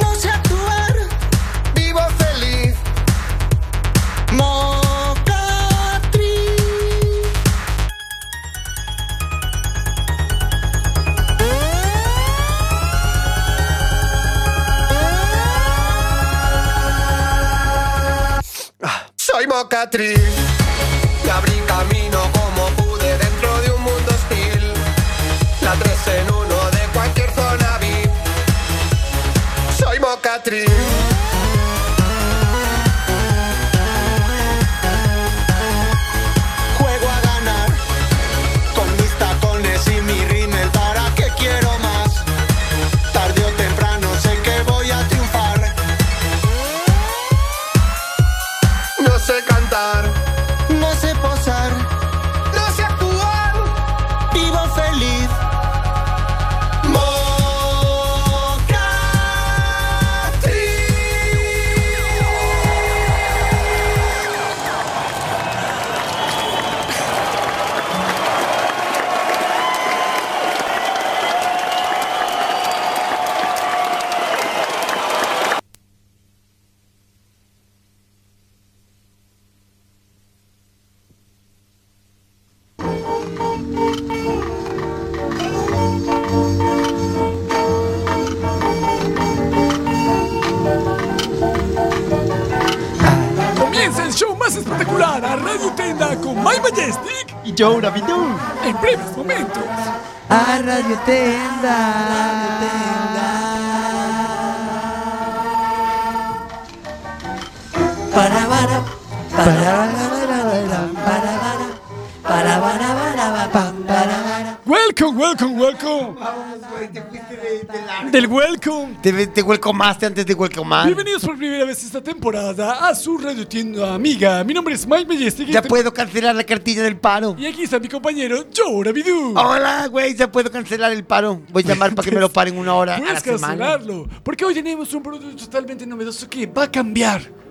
N: no sé actuar. Vivo feliz. Mocatriz. Ah. Soy mocatriz. Me abrí camino como pude dentro de un mundo hostil. La tres en uno de cualquier zona VIP. Soy mocatriz. Juego a ganar con mis tacones y mi rímel. ¿Para qué quiero más? Tarde o temprano sé que voy a triunfar. No sé cantar,
M: Majestic y Joe Rabidou en breves momentos.
K: A Radio Tenda. Para, para, para, para, para, para, para, para, para, para, para,
M: Welcome, welcome, welcome. Del welcome.
D: Te, te welcomeaste antes de welcomar.
M: Bienvenidos por primera vez esta temporada a su radio tienda amiga. Mi nombre es Mike Majestic.
D: Ya puedo cancelar la cartilla del paro.
M: Y aquí está mi compañero Joe Bidú.
D: Hola, güey, ya puedo cancelar el paro. Voy a llamar para que me lo paren una hora a la
M: Puedes
D: semana.
M: cancelarlo, porque hoy tenemos un producto totalmente novedoso que va a cambiar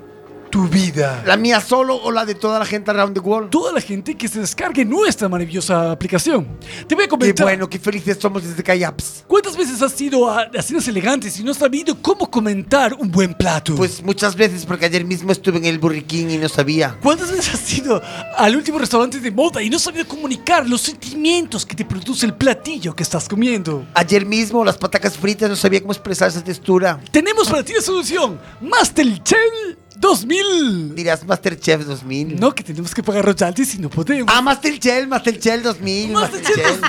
M: tu vida.
D: ¿La mía solo o la de toda la gente around the world?
M: Toda la gente que se descargue nuestra maravillosa aplicación. Te voy a comentar. Qué bueno,
D: qué felices somos desde que hay apps.
M: ¿Cuántas veces has ido a a cenas elegantes y no has sabido cómo comentar un buen plato?
D: Pues muchas veces, porque ayer mismo estuve en el burriquín y no sabía.
M: ¿Cuántas veces has ido al último restaurante de moda y no has sabido comunicar los sentimientos que te produce el platillo que estás comiendo?
D: Ayer mismo las patacas fritas no sabía cómo expresar esa textura.
M: Tenemos para ti la solución. Masterchef 2000.
D: Dirás Masterchef 2000.
M: No, que tenemos que pagar royalties y no podemos.
D: Ah, Masterchef, Masterchef 2000. Masterchef.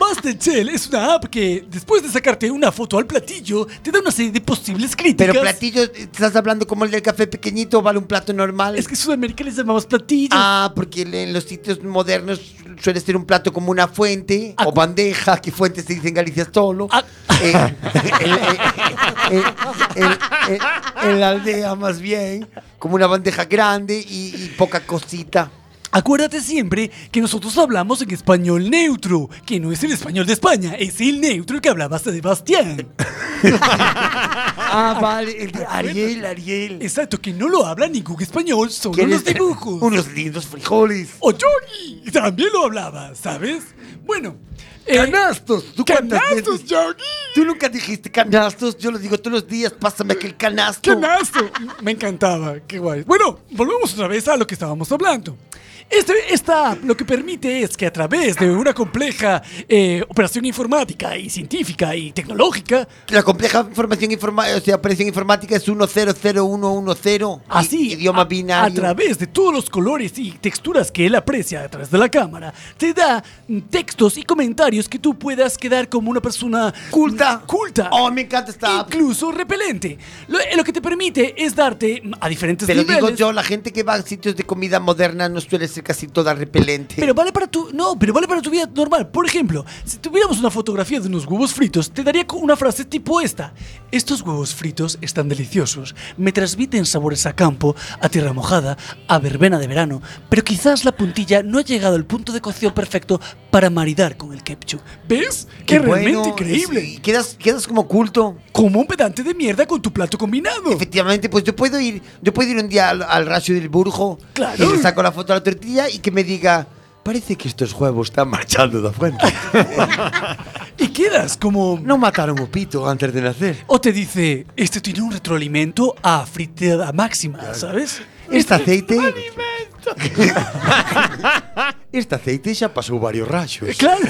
M: Masterchef es una app que, después de sacarte una foto al platillo, te da una serie de posibles críticas.
D: Pero platillo, estás hablando como el del café pequeñito, o vale un plato normal.
M: Es que en Sudamérica les llamamos platillo.
D: Ah, porque en los sitios modernos suele ser un plato como una fuente
M: Ah.
D: o bandeja, que fuente se dice en Galicia solo. Eh, en, la- en- en- en- en la aldea más bien, como una bandeja grande y, y poca cosita.
M: Acuérdate siempre que nosotros hablamos en español neutro, que no es el español de España, es el neutro que hablaba Sebastián.
D: ah, vale, el de Ariel, Ariel.
M: Exacto, que no lo habla ningún español, solo los
D: ¿Quieres
M: dibujos.
D: Unos lindos frijoles.
M: O Yogi, también lo hablaba, ¿sabes? Bueno.
D: canastos, ¿tú cuántas
M: Eh, canastos,
D: veces?
M: Yogi.
D: Tú nunca dijiste canastos, yo lo digo todos los días, pásame aquel canasto.
M: Canasto. Me encantaba, qué guay. Bueno, volvemos otra vez a lo que estábamos hablando. Este- esta app lo que permite es que a través de una compleja eh, operación informática y científica y tecnológica,
D: La compleja información informática, o sea, operación informática es 100110.
M: así,
D: i- idioma
M: a-
D: binario.
M: a través de todos los colores y texturas que él aprecia a través de la cámara, te da mm, textos y comentarios que tú puedas quedar como una persona mm,
D: culta.
M: culta.
D: Oh, me encanta esta app.
M: Incluso repelente. Lo, eh, lo que te permite es darte mm, a diferentes
D: Pero
M: niveles.
D: digo yo, la gente que va a sitios de comida moderna no suele ser casi toda repelente.
M: Pero vale para tu. No, pero vale para tu vida normal. Por ejemplo, si tuviéramos una fotografía de unos huevos fritos, te daría con una frase tipo esta: Estos huevos fritos están deliciosos. Me transmiten sabores a campo, a tierra mojada, a verbena de verano. Pero quizás la puntilla no ha llegado al punto de cocción perfecto para maridar con el ketchup. ¿Ves? Que
D: Qué bueno,
M: realmente increíble.
D: sí, quedas, quedas como culto.
M: Como un pedante de mierda con tu plato combinado.
D: Efectivamente, pues yo puedo ir, yo puedo ir un día al, al Ratio del Burgo
M: Claro.
D: y le saco la foto a la tortilla y que me diga, parece que estos huevos están marchando de (laughs) frente.
M: (laughs) Y quedas como.
D: No mataron un pito antes de nacer.
M: O te dice, este tiene un retroalimento a fritada máxima, ¿sabes?
D: Este aceite. Este aceite ya pasó varios rayos.
M: Eh, Claro.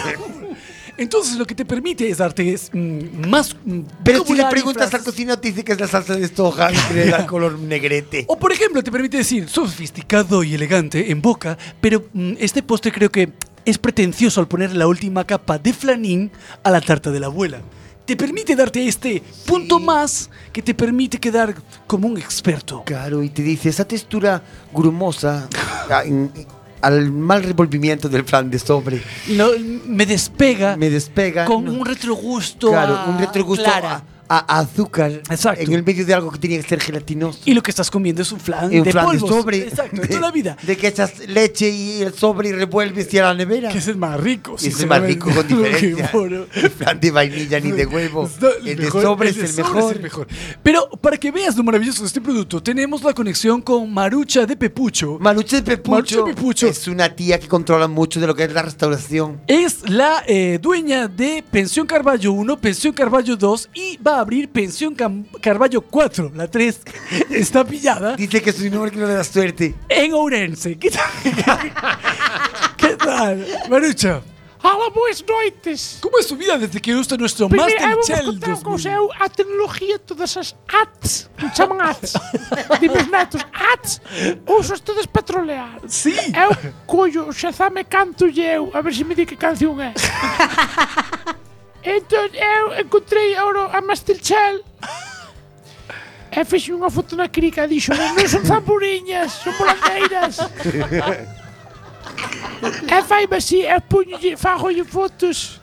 M: Entonces lo que te permite es darte es, mm, más... mm,
D: Pero si le
M: vocabulario y
D: preguntas al
M: frases.
D: cocinero te dice que es la salsa de estoja y que le da color negrete.
M: O por ejemplo, te permite decir sofisticado y elegante en boca, pero mm, este postre creo que es pretencioso al poner la última capa de flanín a la tarta de la abuela. Te permite darte este punto más que te permite quedar como un experto.
D: Claro, y te dice esa textura grumosa a- en- al mal revolvimiento del flan de sobre.
M: No, me despega.
D: Me despega.
M: Con
D: no.
M: un retrogusto.
D: Claro,
M: a
D: un retrogusto
M: clara.
D: a, a- a azúcar
M: Exacto.
D: en el medio de algo que tenía que ser gelatinoso.
M: Y lo que estás comiendo es un flan
D: Un
M: de
D: flan de
M: polvos.
D: sobre.
M: Exacto,
D: (laughs) De-
M: toda la vida.
D: De que echas leche y el sobre y revuelves y a la nevera.
M: Que es el más rico.
D: Y es el más rico
M: (laughs)
D: con
M: sinceramente.
D: diferencia.
M: Bueno,
D: El flan de vainilla ni de huevo.
M: es lo-
D: El de
M: mejor-
D: sobre es
M: de
D: el
M: sobre
D: mejor.
M: Pero para que veas lo maravilloso de este producto, tenemos la conexión con Marucha de Pepucho.
D: Marucha de Pepucho
M: Marucha de Pepucho
D: es una tía que controla mucho de lo que es la restauración.
M: es la eh, dueña de Pensión Carballo 1, Pensión Carballo 2 y va a abrir Pensión Cam- Carballo 4. La 3 (laughs) está pillada.
D: Dice que es un hombre que no le da suerte.
M: (laughs) En Ourense. ¿Qué tal? ¿Qué tal? Marucha.
O: Ala, boas noites.
M: Como é a sua vida desde que eu estou no nosso
O: Primeiro, eu
M: Master
O: vou-vos
M: Chell
O: contar o que
M: 2000?
O: usei a tecnología todas as ads, que chaman ads. Di meus netos, ads, usas todas para trolear.
M: Sí.
O: Eu collo o Shazame canto eu, a ver se me di que canción é. entón, eu encontrei oro a Masterchel e fixe unha foto na crica e dixo, non son zamburiñas, son volandeiras. E fai así, e puñolle, fagolle fotos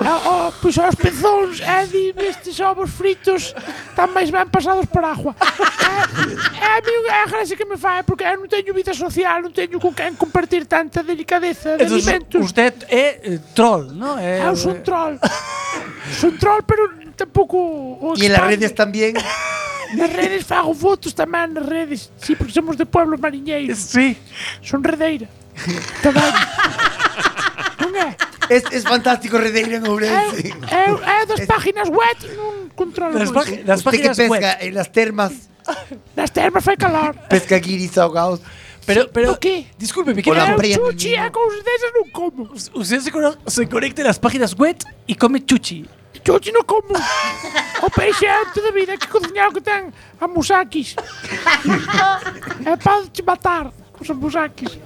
O: e, oh, pois aos pezóns e dime estes ovos fritos están máis ben pasados por agua. E, e a mí é a gracia que me fai, porque eu non teño vida social, non teño con quen compartir tanta delicadeza de
E: Entonces,
O: alimentos.
E: usted é eh, troll, ¿no?
M: Eh,
E: É,
O: Eu son troll. son troll, pero tampouco... o
D: Y en las
O: expande.
D: redes
O: (laughs)
D: también.
O: Nas redes fago fotos tamén nas redes. Sí, porque somos de pueblos mariñeiros. Sí. Son redeira. Tamén. non é?
D: Es, es fantástico Redeira en Ourense.
O: Eu, eu das páginas web non controlo
D: Las
O: moito.
D: pag- las Usted que páginas pesca web. en las
O: (laughs)
D: termas.
O: Nas termas fai calor.
D: Pesca guiris ahogados.
M: Pero, pero,
O: Do que?
M: Discúlpeme,
D: Por la
O: Eu
D: fría.
O: chuchi e cousas desas non como.
M: Usted se, cono- se conecta en las páginas web y come chuchi.
O: Chuchi non como. O peixe é toda a vida que cociñar o que ten a musakis. é para te matar os musakis.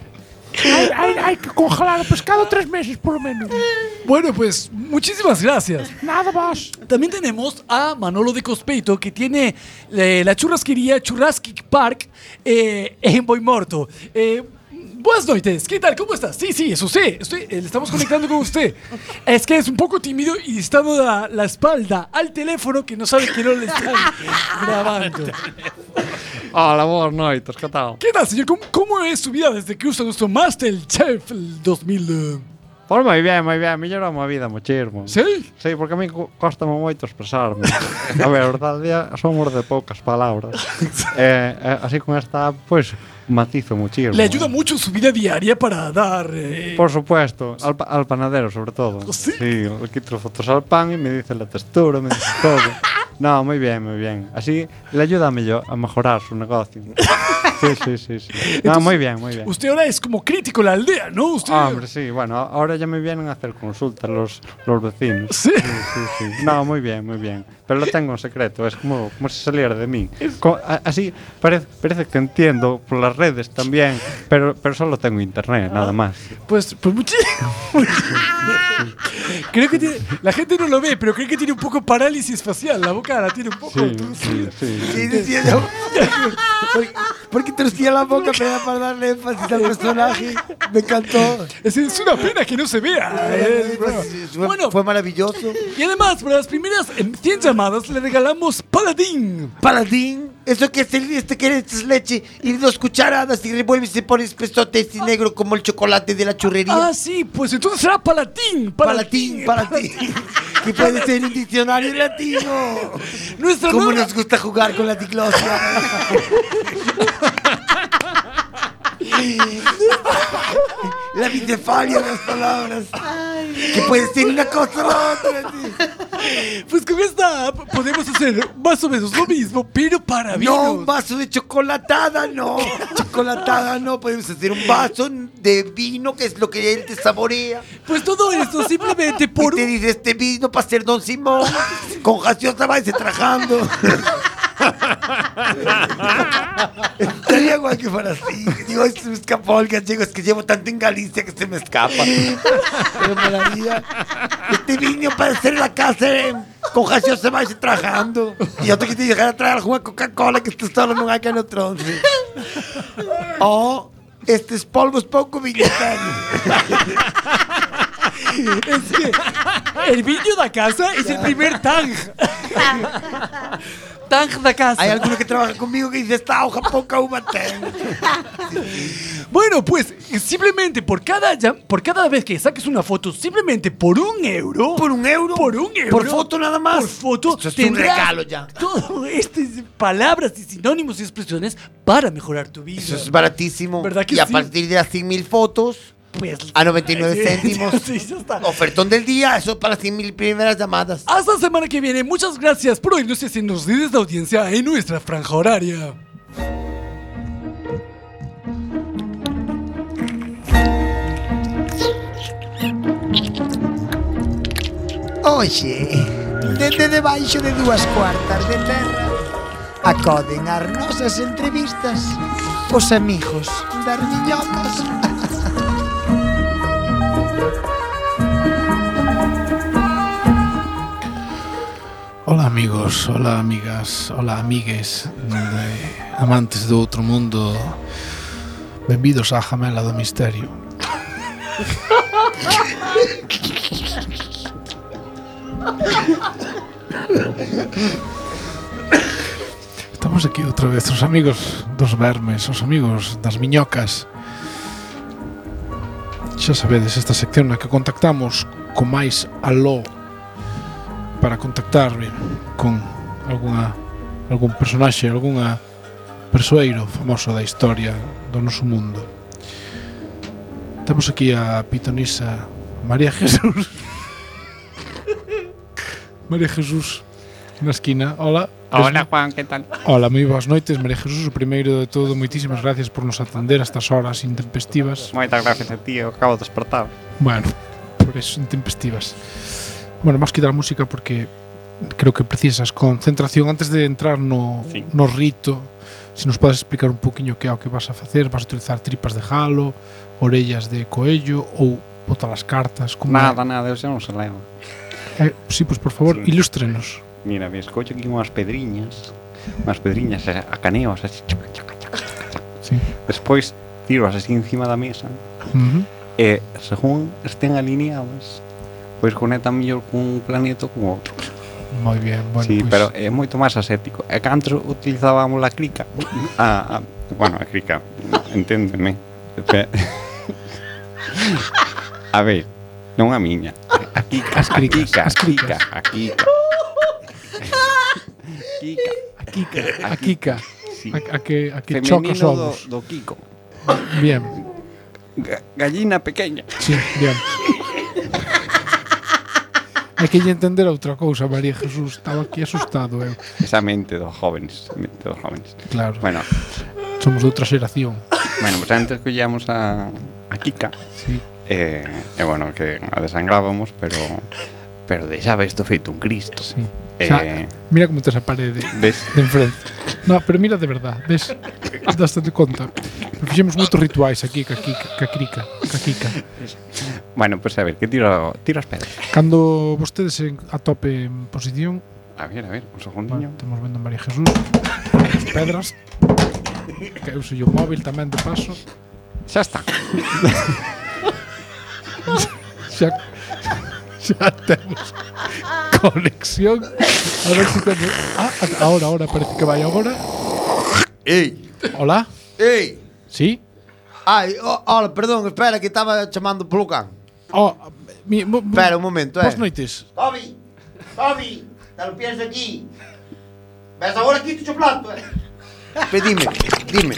O: Hai, hai, hai que congelar o pescado tres meses, por lo menos.
M: Bueno, pues muchísimas gracias.
O: Nada más.
M: También tenemos a Manolo de Cospeito, que tiene eh, la churrasquería Churrasquic Park eh, en Boimorto. Eh, buenas noches, ¿qué tal? ¿Cómo estás? Sí, sí, es usted. Estoy, eh, le estamos conectando con usted. Es que es un poco tímido y está dando la, la espalda al teléfono que no sabe que no le están (laughs) grabando.
P: Hola, boas noites, que tal?
M: ¿Qué tal, señor? ¿Cómo, cómo es su vida desde que usa nuestro Masterchef el 2000? eh?
P: Pois moi ben, moi ben, mellorou a vida mochismo.
M: Sí?
P: Sí, porque a mí costa moito expresarme. a verdade, somos de poucas palabras. eh, eh, así con esta, app, pois, matizo muchísimo.
M: Le ayuda mucho en su vida diaria para dar... eh,
P: Por supuesto, al, pa- al panadero sobre
M: (laughs)
P: todo. Sí, le quito fotos al pan y me dice la textura, me dice
M: (laughs)
P: todo. No, muy bien, muy bien. Así le ayuda a, mello- a mejorar
M: (laughs)
P: su negocio. Sí, sí, sí. sí. No,
M: Entonces,
P: muy bien, muy bien.
M: Usted ahora es como crítico de la aldea, ¿no? Usted...
P: Ah, Hombre, sí, bueno, ahora ya me vienen a hacer consultas los, los vecinos.
M: Sí.
P: sí, sí. No, muy bien, muy bien. Pero lo tengo en secreto, es como, como si saliera de mí. Co- a- así parece, parece que entiendo por las redes también, pero, pero solo tengo internet, nada más.
M: Pues, pues muchísimo. (laughs) creo que tiene- la gente no lo ve, pero creo que tiene un poco parálisis facial. La boca la tiene un poco.
P: Sí,
M: torcida.
P: sí, sí.
M: (laughs)
D: Sí, decía yo. Porque, porque torcía la boca pero era para darle énfasis al personaje. Me encantó.
M: Es, es una pena que no se vea. eh, bueno.
D: Fue, fue maravilloso.
M: Y además, para las primeras eh, 100 llamadas le regalamos paladín.
D: Paladín, eso que es el, este que es leche y dos cucharadas y revuelves y se pones pestote este negro como el chocolate de la churrería.
M: Ah, sí, pues entonces será palatín.
D: Palatín, palatín. que puede
M: (laughs)
D: ser un diccionario latino.
M: Nuestra
D: Como nos gusta jugar con la diglosia. la bicefalia de las palabras. Que puede ser una cosa o la otra.
M: Pues con esta app podemos hacer más o menos lo mismo, pero para vinos.
D: No, un vaso de chocolatada, no. Chocolatada, no. Podemos hacer un vaso de vino, que es lo que él te saborea.
M: Pues todo esto simplemente por.
D: Y te dice este vino para ser Don Simón. Con gaseosa va trajando. Estaría guay que fuera así. Digo, "Ay, se me escapó el gallego. Es que llevo tanto en Galicia que se me escapa. Pero molaría. Este vino para hacer la casa eh, con gaseosa va trajando. Y yo te quité llegar a traer alguna Coca-Cola que estés solo no hay que no tronce. O este estos polvos
M: (laughs)
D: poco viñetarios.
M: Es que el viño da casa es el primer tang. tang da casa.
D: Hay alguno que trabaja conmigo que dice, esta hoja poca uva tengo.
M: Bueno, pues simplemente por cada, llam- por cada vez que saques una foto, simplemente por un euro.
D: ¿Por un euro?
M: Por un euro.
D: Por foto nada más.
M: Por foto.
D: Esto es un
M: tendrás este
D: regalo ya.
M: Todo estas palabras y sinónimos y expresiones para mejorar tu vida.
D: Eso es baratísimo.
M: ¿Verdad que
D: y a
M: sí?
D: partir de las 100.000 fotos,
M: Pues-
D: a 99 céntimos,
M: (laughs) Sí, ya está.
D: ofertón del día, eso para las 100.000 primeras llamadas.
M: Hasta la semana que viene. Muchas gracias por oírnos y hacernos líderes de audiencia en nuestra franja horaria.
F: hoxe, dende debaixo de dúas cuartas de terra, acoden as nosas entrevistas os amigos das miñocas.
I: Hola amigos, hola amigas, hola amigues de amantes do outro mundo Benvidos á Jamela do Misterio Estamos aquí outra vez, os amigos dos vermes, os amigos das miñocas Xa sabedes esta sección na que contactamos co máis aló para contactarme con alguna algún personaxe, algunha persoeiro famoso da historia do noso mundo. Temos aquí a pitonisa María Jesús. (laughs) María Jesús na esquina. Hola.
P: Hola, Juan, ¿qué tal?
I: Hola, moi boas noites, María Jesús. O primeiro de todo, moitísimas gracias por nos atender a estas horas intempestivas.
P: Moitas gracias a ti, eu acabo de despertar.
I: Bueno, por eso intempestivas. Bueno, vamos quitar a música porque creo que precisas concentración antes de entrar no, no rito. Se nos podes explicar un poquinho que é o que vas a facer, vas a utilizar tripas de jalo, orellas de coello ou botar as cartas, como
P: Nada, nada, eu xa non se levo.
I: Eh, sí, pois por favor, sí. ilústrenos.
P: Mira, me escocho aquí unhas pedriñas, unhas pedriñas a a caneos, así, chaca, chaca, chaca, chaca.
I: Sí.
P: Despois tiroas así encima da mesa
I: Ujú.
P: e, según estén alineadas, pois conectan mellor cun planeta ou cun outro.
I: Moi bien, bueno,
P: sí,
I: pois
P: pero é moito máis aséptico. E que antes utilizábamos a crica. A, a, bueno, a crica, enténdeme. Pe- A ver, non a miña. A quica,
I: As
P: a
I: cricas,
P: quica, a
I: as cricas.
P: quica, a quica. Kika,
I: Kika,
P: a a
I: a Kika.
P: Sí.
I: A, a que, a que
P: Femenino
I: chocas ovos.
P: do, do Kiko.
I: Bien,
P: Ga- gallina pequeña.
I: sí, bien. Hai que lle entender outra cousa, María Jesús. Estaba aquí asustado, eu.
P: Esa mente dos jóvenes, mente dos jóvenes.
I: Claro.
P: (laughs) Bueno,
I: Somos de outra xeración.
P: bueno, pues antes collíamos a, a Kika.
I: Sí.
P: Eh, e bueno, que a desangrábamos, pero pero deixaba isto feito un cristo. Sí.
I: O sea, mira como tes a parede
P: Eh. Ves?
I: de enfrente. No, pero mira de verdad, ves? Daste conta. Pero fixemos moitos rituais aquí, ca Kika, ca crica, ca Kika.
P: Bueno, pues a ver, que tiro, tiro as pedras.
I: Cando vostedes en- a tope en posición,
P: A ver, a ver, un
I: bueno,
P: segundinho.
I: estamos vendo a María Jesús, (coughs) as pedras, que eu sei o móvil tamén de paso. (laughs)
P: Xa está.
I: xa, xa temos conexión. A ver se temos... Ah, a- ahora, ahora, parece que vai agora.
D: Ah, Ei.
I: Hola.
D: Ei.
I: Sí?
D: Ai, oh, hola, perdón, espera que estaba chamando polo can.
I: Oh,
D: espera un momento, eh.
I: Boas noites.
D: Toby, Toby, te lo pienso aquí. Ves agora aquí tu plato, eh. Pero dime, dime.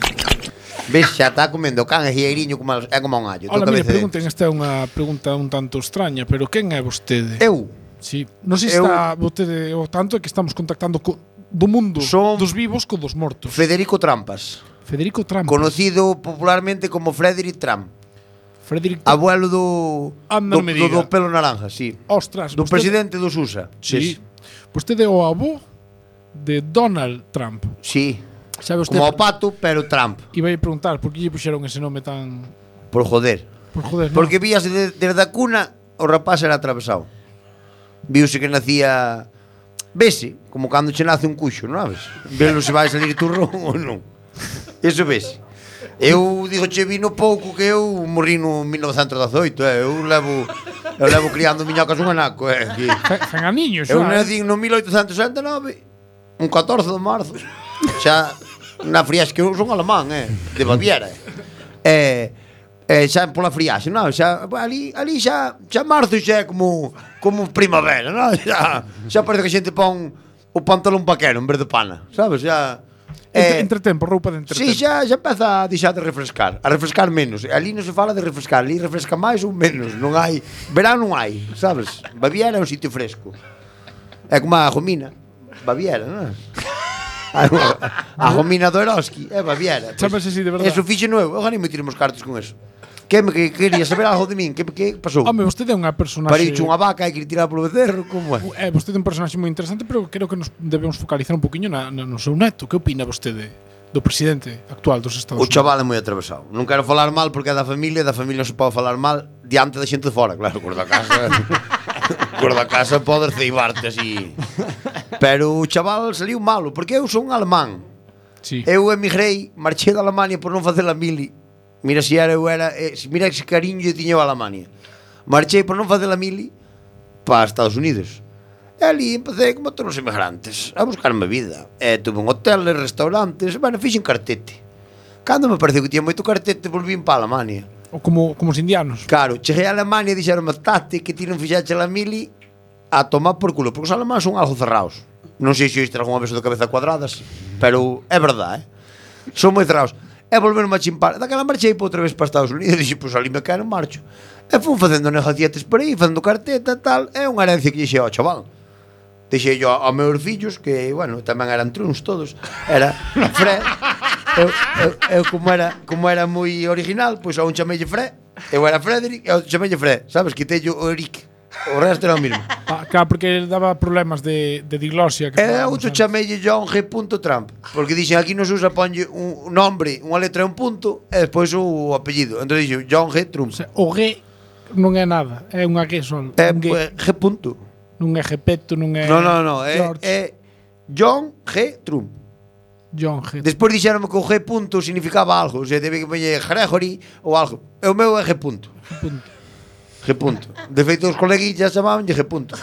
D: Ves, xa está comendo o can, é gireiriño como, é como un allo.
I: Hola,
D: toca
I: mire,
D: veces
I: pregunten, esta é unha pregunta un tanto extraña, pero quen é vostede?
D: Eu.
I: Sí, non sei se
D: Eu-
I: está vostede o tanto é que estamos contactando co, do mundo Son dos vivos co dos mortos.
D: Federico Trampas.
I: Federico Trampas.
D: Conocido popularmente como Frederick Trump.
I: Frederick
D: Abuelo do,
I: Anda,
D: do,
I: non me
D: do,
I: diga.
D: do pelo naranja, sí.
I: Ostras,
D: Do
I: vostede-
D: presidente do SUSA.
I: Sí. Vostede é o avó de Donald Trump.
D: Sí.
I: Sabe usted
D: Como o pato, pero Trump.
I: Iba a preguntar por que lle puxeron ese nome tan
D: Por joder.
I: por joder, non?
D: Porque víase de- desde a cuna o rapaz era atravesado. Viuse que nacía vese, como cando che nace un cuxo, non sabes? Velo se vai salir turrón (laughs) ou non. Eso vese. Eu digo che vino pouco que eu morri no 1918, eh? eu levo eu levo criando miñacas un anaco, eh? Que...
I: Fan a niños,
D: Eu nací no 1869, un 14 de marzo. Xa na friaxe que eu son alemán, eh, de Baviera. Eh, eh xa pola friaxe, non? Xa ali ali xa xa marzo xa é como como primavera, non? (laughs) Xa, xa parece que a xente pon o pantalón vaquero en vez de pana, sabes? Xa
I: Entre,
D: Eh,
I: entretempo, roupa de entretempo.
D: Sí, xa, xa empeza a deixar de refrescar A refrescar menos Ali non se fala de refrescar Ali refresca máis ou menos Non hai Verán non hai, sabes? Baviera é un sitio fresco É como a Jomina Baviera, non (laughs) é? A, a Jomina do Eroski É Baviera pois.
I: Chámase así, de verdad.
D: Eso fixe novo Eu ganei me tiremos cartos con eso Que me que quería saber algo de min? Que, que pasou?
I: Home, vostede é unha personaxe...
D: Paricho unha vaca e que tirar polo becerro, como
I: É, Eh,
D: é?
I: vostede é un personaxe moi interesante, pero creo que nos debemos focalizar un poquinho na, na, no seu neto. Que opina vostede do presidente actual dos Estados
D: O chaval é moi atravesado. Non quero falar mal porque é da familia, da familia non se pode falar mal diante da xente de fora, claro, cor da casa. cor da casa podes ceibarte así. Pero o chaval saliu malo, porque eu son alemán.
I: Sí.
D: Eu emigrei, marchei da Alemania por non facer a mili. Mira se era eu era, eh, se- mira que cariño eu tiña a Alemania. Marchei por non facer a mili para Estados Unidos. E ali empecé como todos os emigrantes a buscarme vida. E tuve un hotel, restaurantes, bueno, fixen cartete. Cando me pareceu que tiña moito cartete, volvín para Alemania.
I: O como, como os indianos.
D: Claro, cheguei a Alemania e dixeron tate que ti non fixaxe a mili a tomar por culo, porque os alemáns son algo cerrados. Non sei se oíste algunha vez o de cabeza cuadradas, pero é verdade, eh? Son moi cerrados. E volveron a chimpar. Daquela marchei pa outra vez para Estados Unidos (laughs) e dixen, pois ali me caen marcho. E fun facendo negocietes por aí, facendo carteta e tal. É unha herencia que dixei ao chaval. Dixei yo aos meus fillos que, bueno, tamén eran truns todos.
I: (laughs)
D: Era Fred. Eu, eu, eu como era como era moi original, pois a un chamelle Fred. Eu era Frederick e ao outro chamelle Fred. Sabes, quitei o Eric. O resto era o mismo.
I: Pa, Ah, claro, porque ele daba problemas de, de diglosia. Que
D: E
I: falábamos
D: outro
I: antes.
D: chamelle John G. Trump Porque dixen aquí nos usa ponlle un nombre, unha letra e un punto E despois o apellido Entón dixen John G. Trump
I: O G non é nada, é unha G son. É un G.
D: Eh, G punto.
I: Non é Gepeto, non é...
D: Non, non, non, é,
I: George,
D: é eh, John G. Trump
I: John G.
D: Despois dixeronme que o G. Punto significaba algo O sea, debe que poñer Gregory ou algo E o meu é G. Punto
I: Punto.
D: G. Punto De feito, os coleguillas chamabanlle G. Punto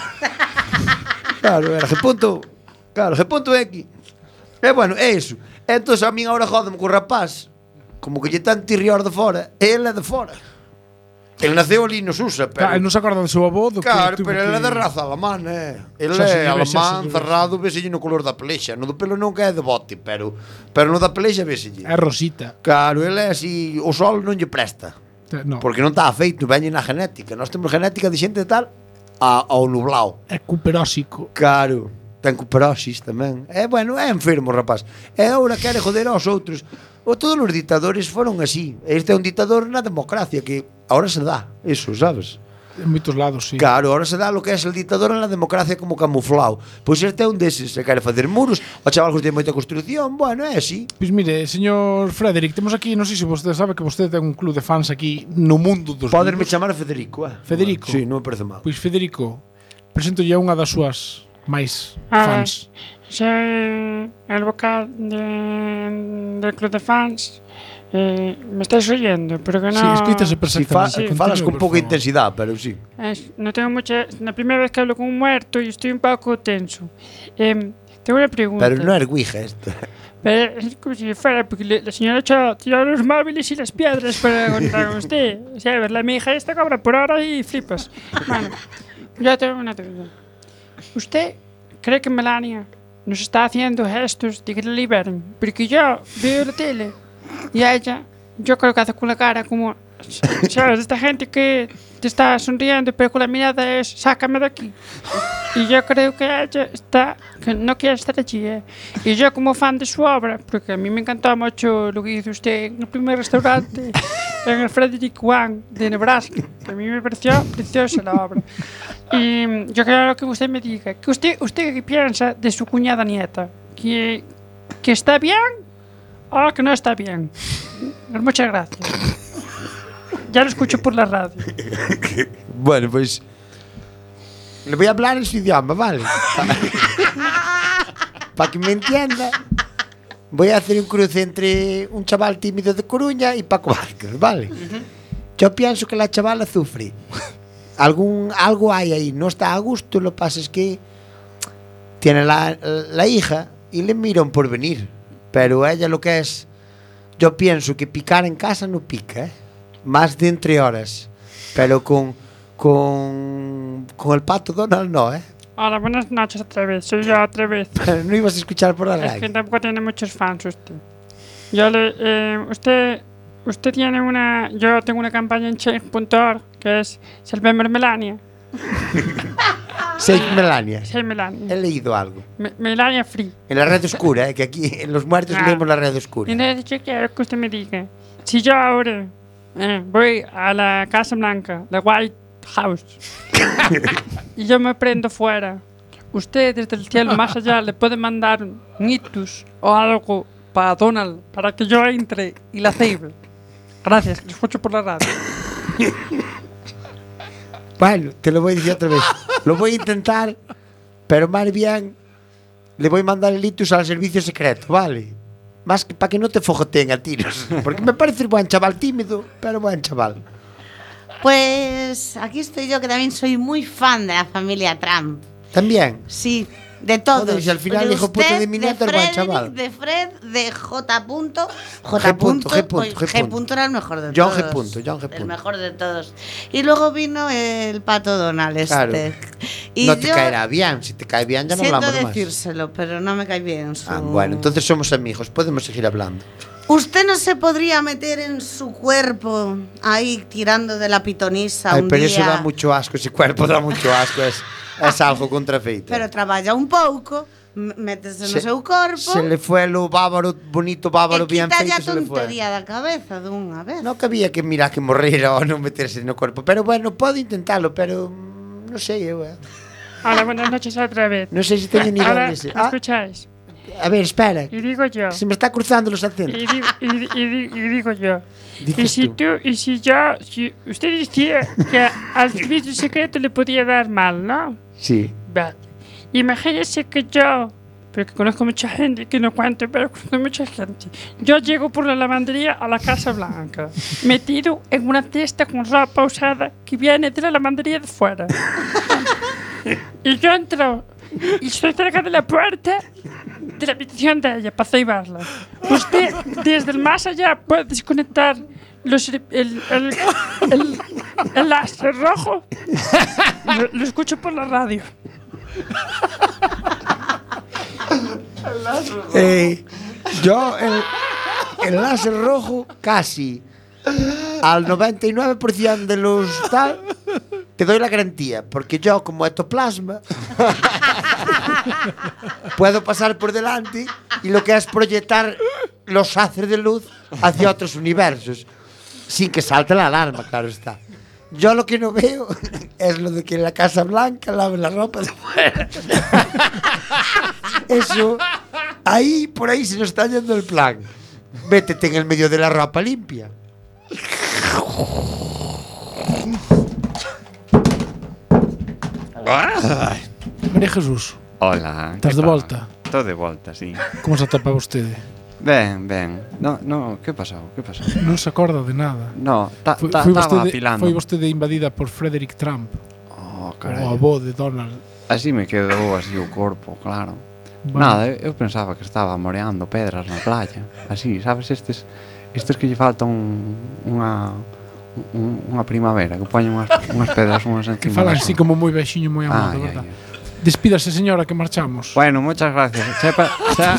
D: Claro, era G. Punto Claro, G. Punto X E bueno, é iso Entón, a min agora jodeme co rapaz Como que lle tan tirrior de fora E ele é de fora Ele naceu ali nos USA pero...
I: Claro, non se acorda do seu avó do
D: Claro,
I: que tuvo
D: pero
I: que...
D: ele é de raza alemán, eh. Ele
I: Xa se
D: é
I: lle ve, xa se
D: alemán,
I: lle ve.
D: cerrado, veselle no color da pelexa. No do pelo non que é de bote, pero pero no da pelexa veselle.
I: É rosita.
D: Claro, ele é así, o sol non lle presta.
I: No.
D: Porque non está feito, veñe na genética. Nós temos genética de xente de tal a, ao nublao.
I: É cuperóxico.
D: Claro, ten cuperosis tamén. É, bueno, é enfermo, rapaz. E agora quere joder aos outros. O, todos os ditadores foron así. Este é un ditador na democracia que ahora se dá, eso, sabes?
I: En moitos lados, sí.
D: Claro, ahora se dá lo que é el ditador na democracia como camuflao. Pois este é un deses, se quere facer muros, o chaval gostei moita construción, bueno, é así.
I: Pois mire, señor Frederick, temos aquí, non sei se vostede sabe que vostede ten un club de fans aquí no mundo dos
D: Poderme
I: libros.
D: chamar Federico, eh?
I: Federico.
D: Sí, non me parece mal.
I: Pois Federico, presento a unha das súas máis
Q: Ah.
I: fans.
Q: Soy el vocal de- del Club de Fans. Eh, me estáis oyendo, pero que no.
D: Si fa, falas con pouca intensidade, pero sí.
Q: Es- no tengo mucha. Es la primera vez que hablo con un muerto y estoy un poco tenso. Em, tengo una pregunta.
D: Pero non é erguija esta.
Q: Pero es como si fuera, porque le- la señora ha tirado los móviles y las piedras para contar con usted. O sea, a ver, la mi hija esta cobra por hora y flipas. Bueno, yo tengo una pregunta. ¿Usted cree que Melania nos está haciendo gestos de que la liberen? Porque yo veo la tele y a ella, yo creo que hace con la cara como, (laughs) ¿sabes? Esta gente que te está sonriendo, pero con la mirada es, sácame de aquí. Y yo creo que ella está, que no quiere estar allí, ¿eh? Y yo como fan de su obra, porque a mí me encantó mucho lo que hizo usted en el primer restaurante, en el Frederick Wang de Nebraska, que a mí me pareció preciosa la obra. Y mm, yo quiero que usted me diga, que usted, ¿usted qué piensa de su cuñada nieta? ¿Que, que está bien o que no está bien? Muchas gracias. Ya lo escucho por la radio.
D: (laughs) bueno, pois le voy a hablar en su idioma, vale? Para que me entienda. Voy a hacer un cruce entre un chaval tímido de Coruña y Paco Vázquez, ¿vale? Yo pienso que la chavala sufre. Algún, algo hay ahí, no está a gusto, lo que pasa es que tiene la, la hija y le mira un porvenir. Pero ella lo que es, yo pienso que picar en casa no pica, ¿eh? más de entre horas. Pero con, con, con el pato Donald no, ¿eh?
Q: Hola, buenas noches otra vez. Soy yo otra vez.
D: no ibas a escuchar por la
Q: Es que
D: radio.
Q: tampoco tiene muchos fans usted. Yo le, eh, usted, usted tiene una, yo tengo una campaña en Change.org que es Salvemos (laughs) Melania.
D: Seis Melania.
Q: Soy Melania.
D: He leído algo.
Q: Me- Melania Free.
D: En la red oscura, ¿eh? que aquí en los muertos
Q: Ah.
D: leemos la red oscura.
Q: Entonces yo quiero que usted me diga, si yo ahora eh, voy a la Casa Blanca, la White House, y yo me prendo fuera. Usted desde el cielo más allá le puede mandar un ictus o algo para Donald, para que yo entre y la cebre. Gracias, que lo escucho por la radio.
D: Bueno, te lo voy a decir otra vez. Lo voy a intentar, pero más bien le voy a mandar el itus al servicio secreto, ¿vale? Más que para que no te fojoteen a tiros. Porque me parece un buen chaval tímido, pero buen chaval.
H: Pues aquí estoy yo, que también soy muy fan de la familia Trump.
D: También.
H: Sí, de todos.
D: Joder, si al final
H: de
D: dijo puto
H: usted,
D: de mi nota, el buen
H: Frederick,
D: chaval.
H: De Fred, de J. Punto, J.
D: G punto, G punto,
H: oye,
D: G
H: G.
D: punto.
H: era el mejor de
D: John
H: todos.
D: G. punto, John G.
H: El
D: punto.
H: mejor de todos. Y luego vino el pato Donald este.
D: Claro.
H: Y
D: no te
H: yo-
D: caerá bien. Si te cae bien, ya no
H: Siento
D: hablamos más.
H: decírselo, pero no me cae bien su...
D: Ah, bueno, entonces somos amigos. Podemos seguir hablando.
H: Usted no se podría meter en su cuerpo ahí tirando de la pitonisa
D: Ay,
H: un
D: pero
H: día.
D: eso da mucho asco. Ese cuerpo da mucho asco. Es, es algo contrafeito.
H: Pero traballa un pouco, m- métese no seu corpo
D: Se le fue lo bávaro, bonito bávaro,
H: e
D: bien
H: quita
D: feito, se
H: a
D: le fue.
H: tontería da cabeza dunha vez.
D: No cabía que mirar que morrer o no meterse no corpo. Pero bueno, puedo intentarlo, pero mm, no sé eu, eh.
Q: Hola, buenas noches otra vez.
D: No sé si tengo nivel
Q: Ahora,
D: ese.
Q: ¿me
D: Ah,
Q: escucháis?
D: a ver, espera.
Q: Y digo yo.
D: Se me está cruzando los acentos.
Q: Y, di- y di- y di- y digo yo. Y
D: Dices
Q: si
D: tú.
Q: tú, y si yo, si usted decía que al servicio secreto le podía dar mal, ¿no?
D: Sí.
Q: Vale. Imagínese que yo, porque conozco mucha gente que no cuento, pero conozco mucha gente. Yo llego por la lavandería a la Casa Blanca, metido en una cesta con ropa usada que viene de la lavandería de fuera. y yo entro y estoy cerca de la puerta de la habitación de ella para ceibarla. Usted desde el más allá puede desconectar los, el, el, el, el láser rojo. Lo- lo escucho por la radio.
D: Eh, yo el, el láser rojo casi al 99% de los tal te doy la garantía porque yo como esto es plasma puedo pasar por delante y lo que es proyectar los haces de luz hacia otros universos sin que salte la alarma claro está yo lo que no veo (laughs) es lo de que en la Casa Blanca laven la ropa de fuera. Eso, ahí, por ahí se nos está yendo el plan. Métete en el medio de la ropa limpia.
I: María Jesús,
P: Hola.
I: Estás
P: que
I: de
P: tal?
I: volta?
P: Estou de volta, sí.
I: como se atapa vostede?
P: Ben, ben. No, no, que pasou? Que pasou?
I: Non se acorda de nada.
P: No, ta,
I: Foi-
P: ta,
I: foi
P: taba
I: vostede-
P: apilando.
I: Foi vostede invadida por Frederick Trump,
P: Oh,
I: o
P: carai.
I: avó de Donald.
P: Así me quedou así o corpo, claro.
I: Bueno.
P: Nada, eu eu pensaba que estaba moreando pedras na playa. Así, sabes, estes estes que lle falta un, unha un- unha primavera, que poñen unhas, unhas pedras unhas
I: (laughs) Que
P: encima.
I: falan
P: das
I: así como moi baixinho, moi amado,
P: Ai, ai,
I: verdad? Despídase, señora, que marchamos. (laughs)
P: Bueno, muchas gracias. Sepa, xa,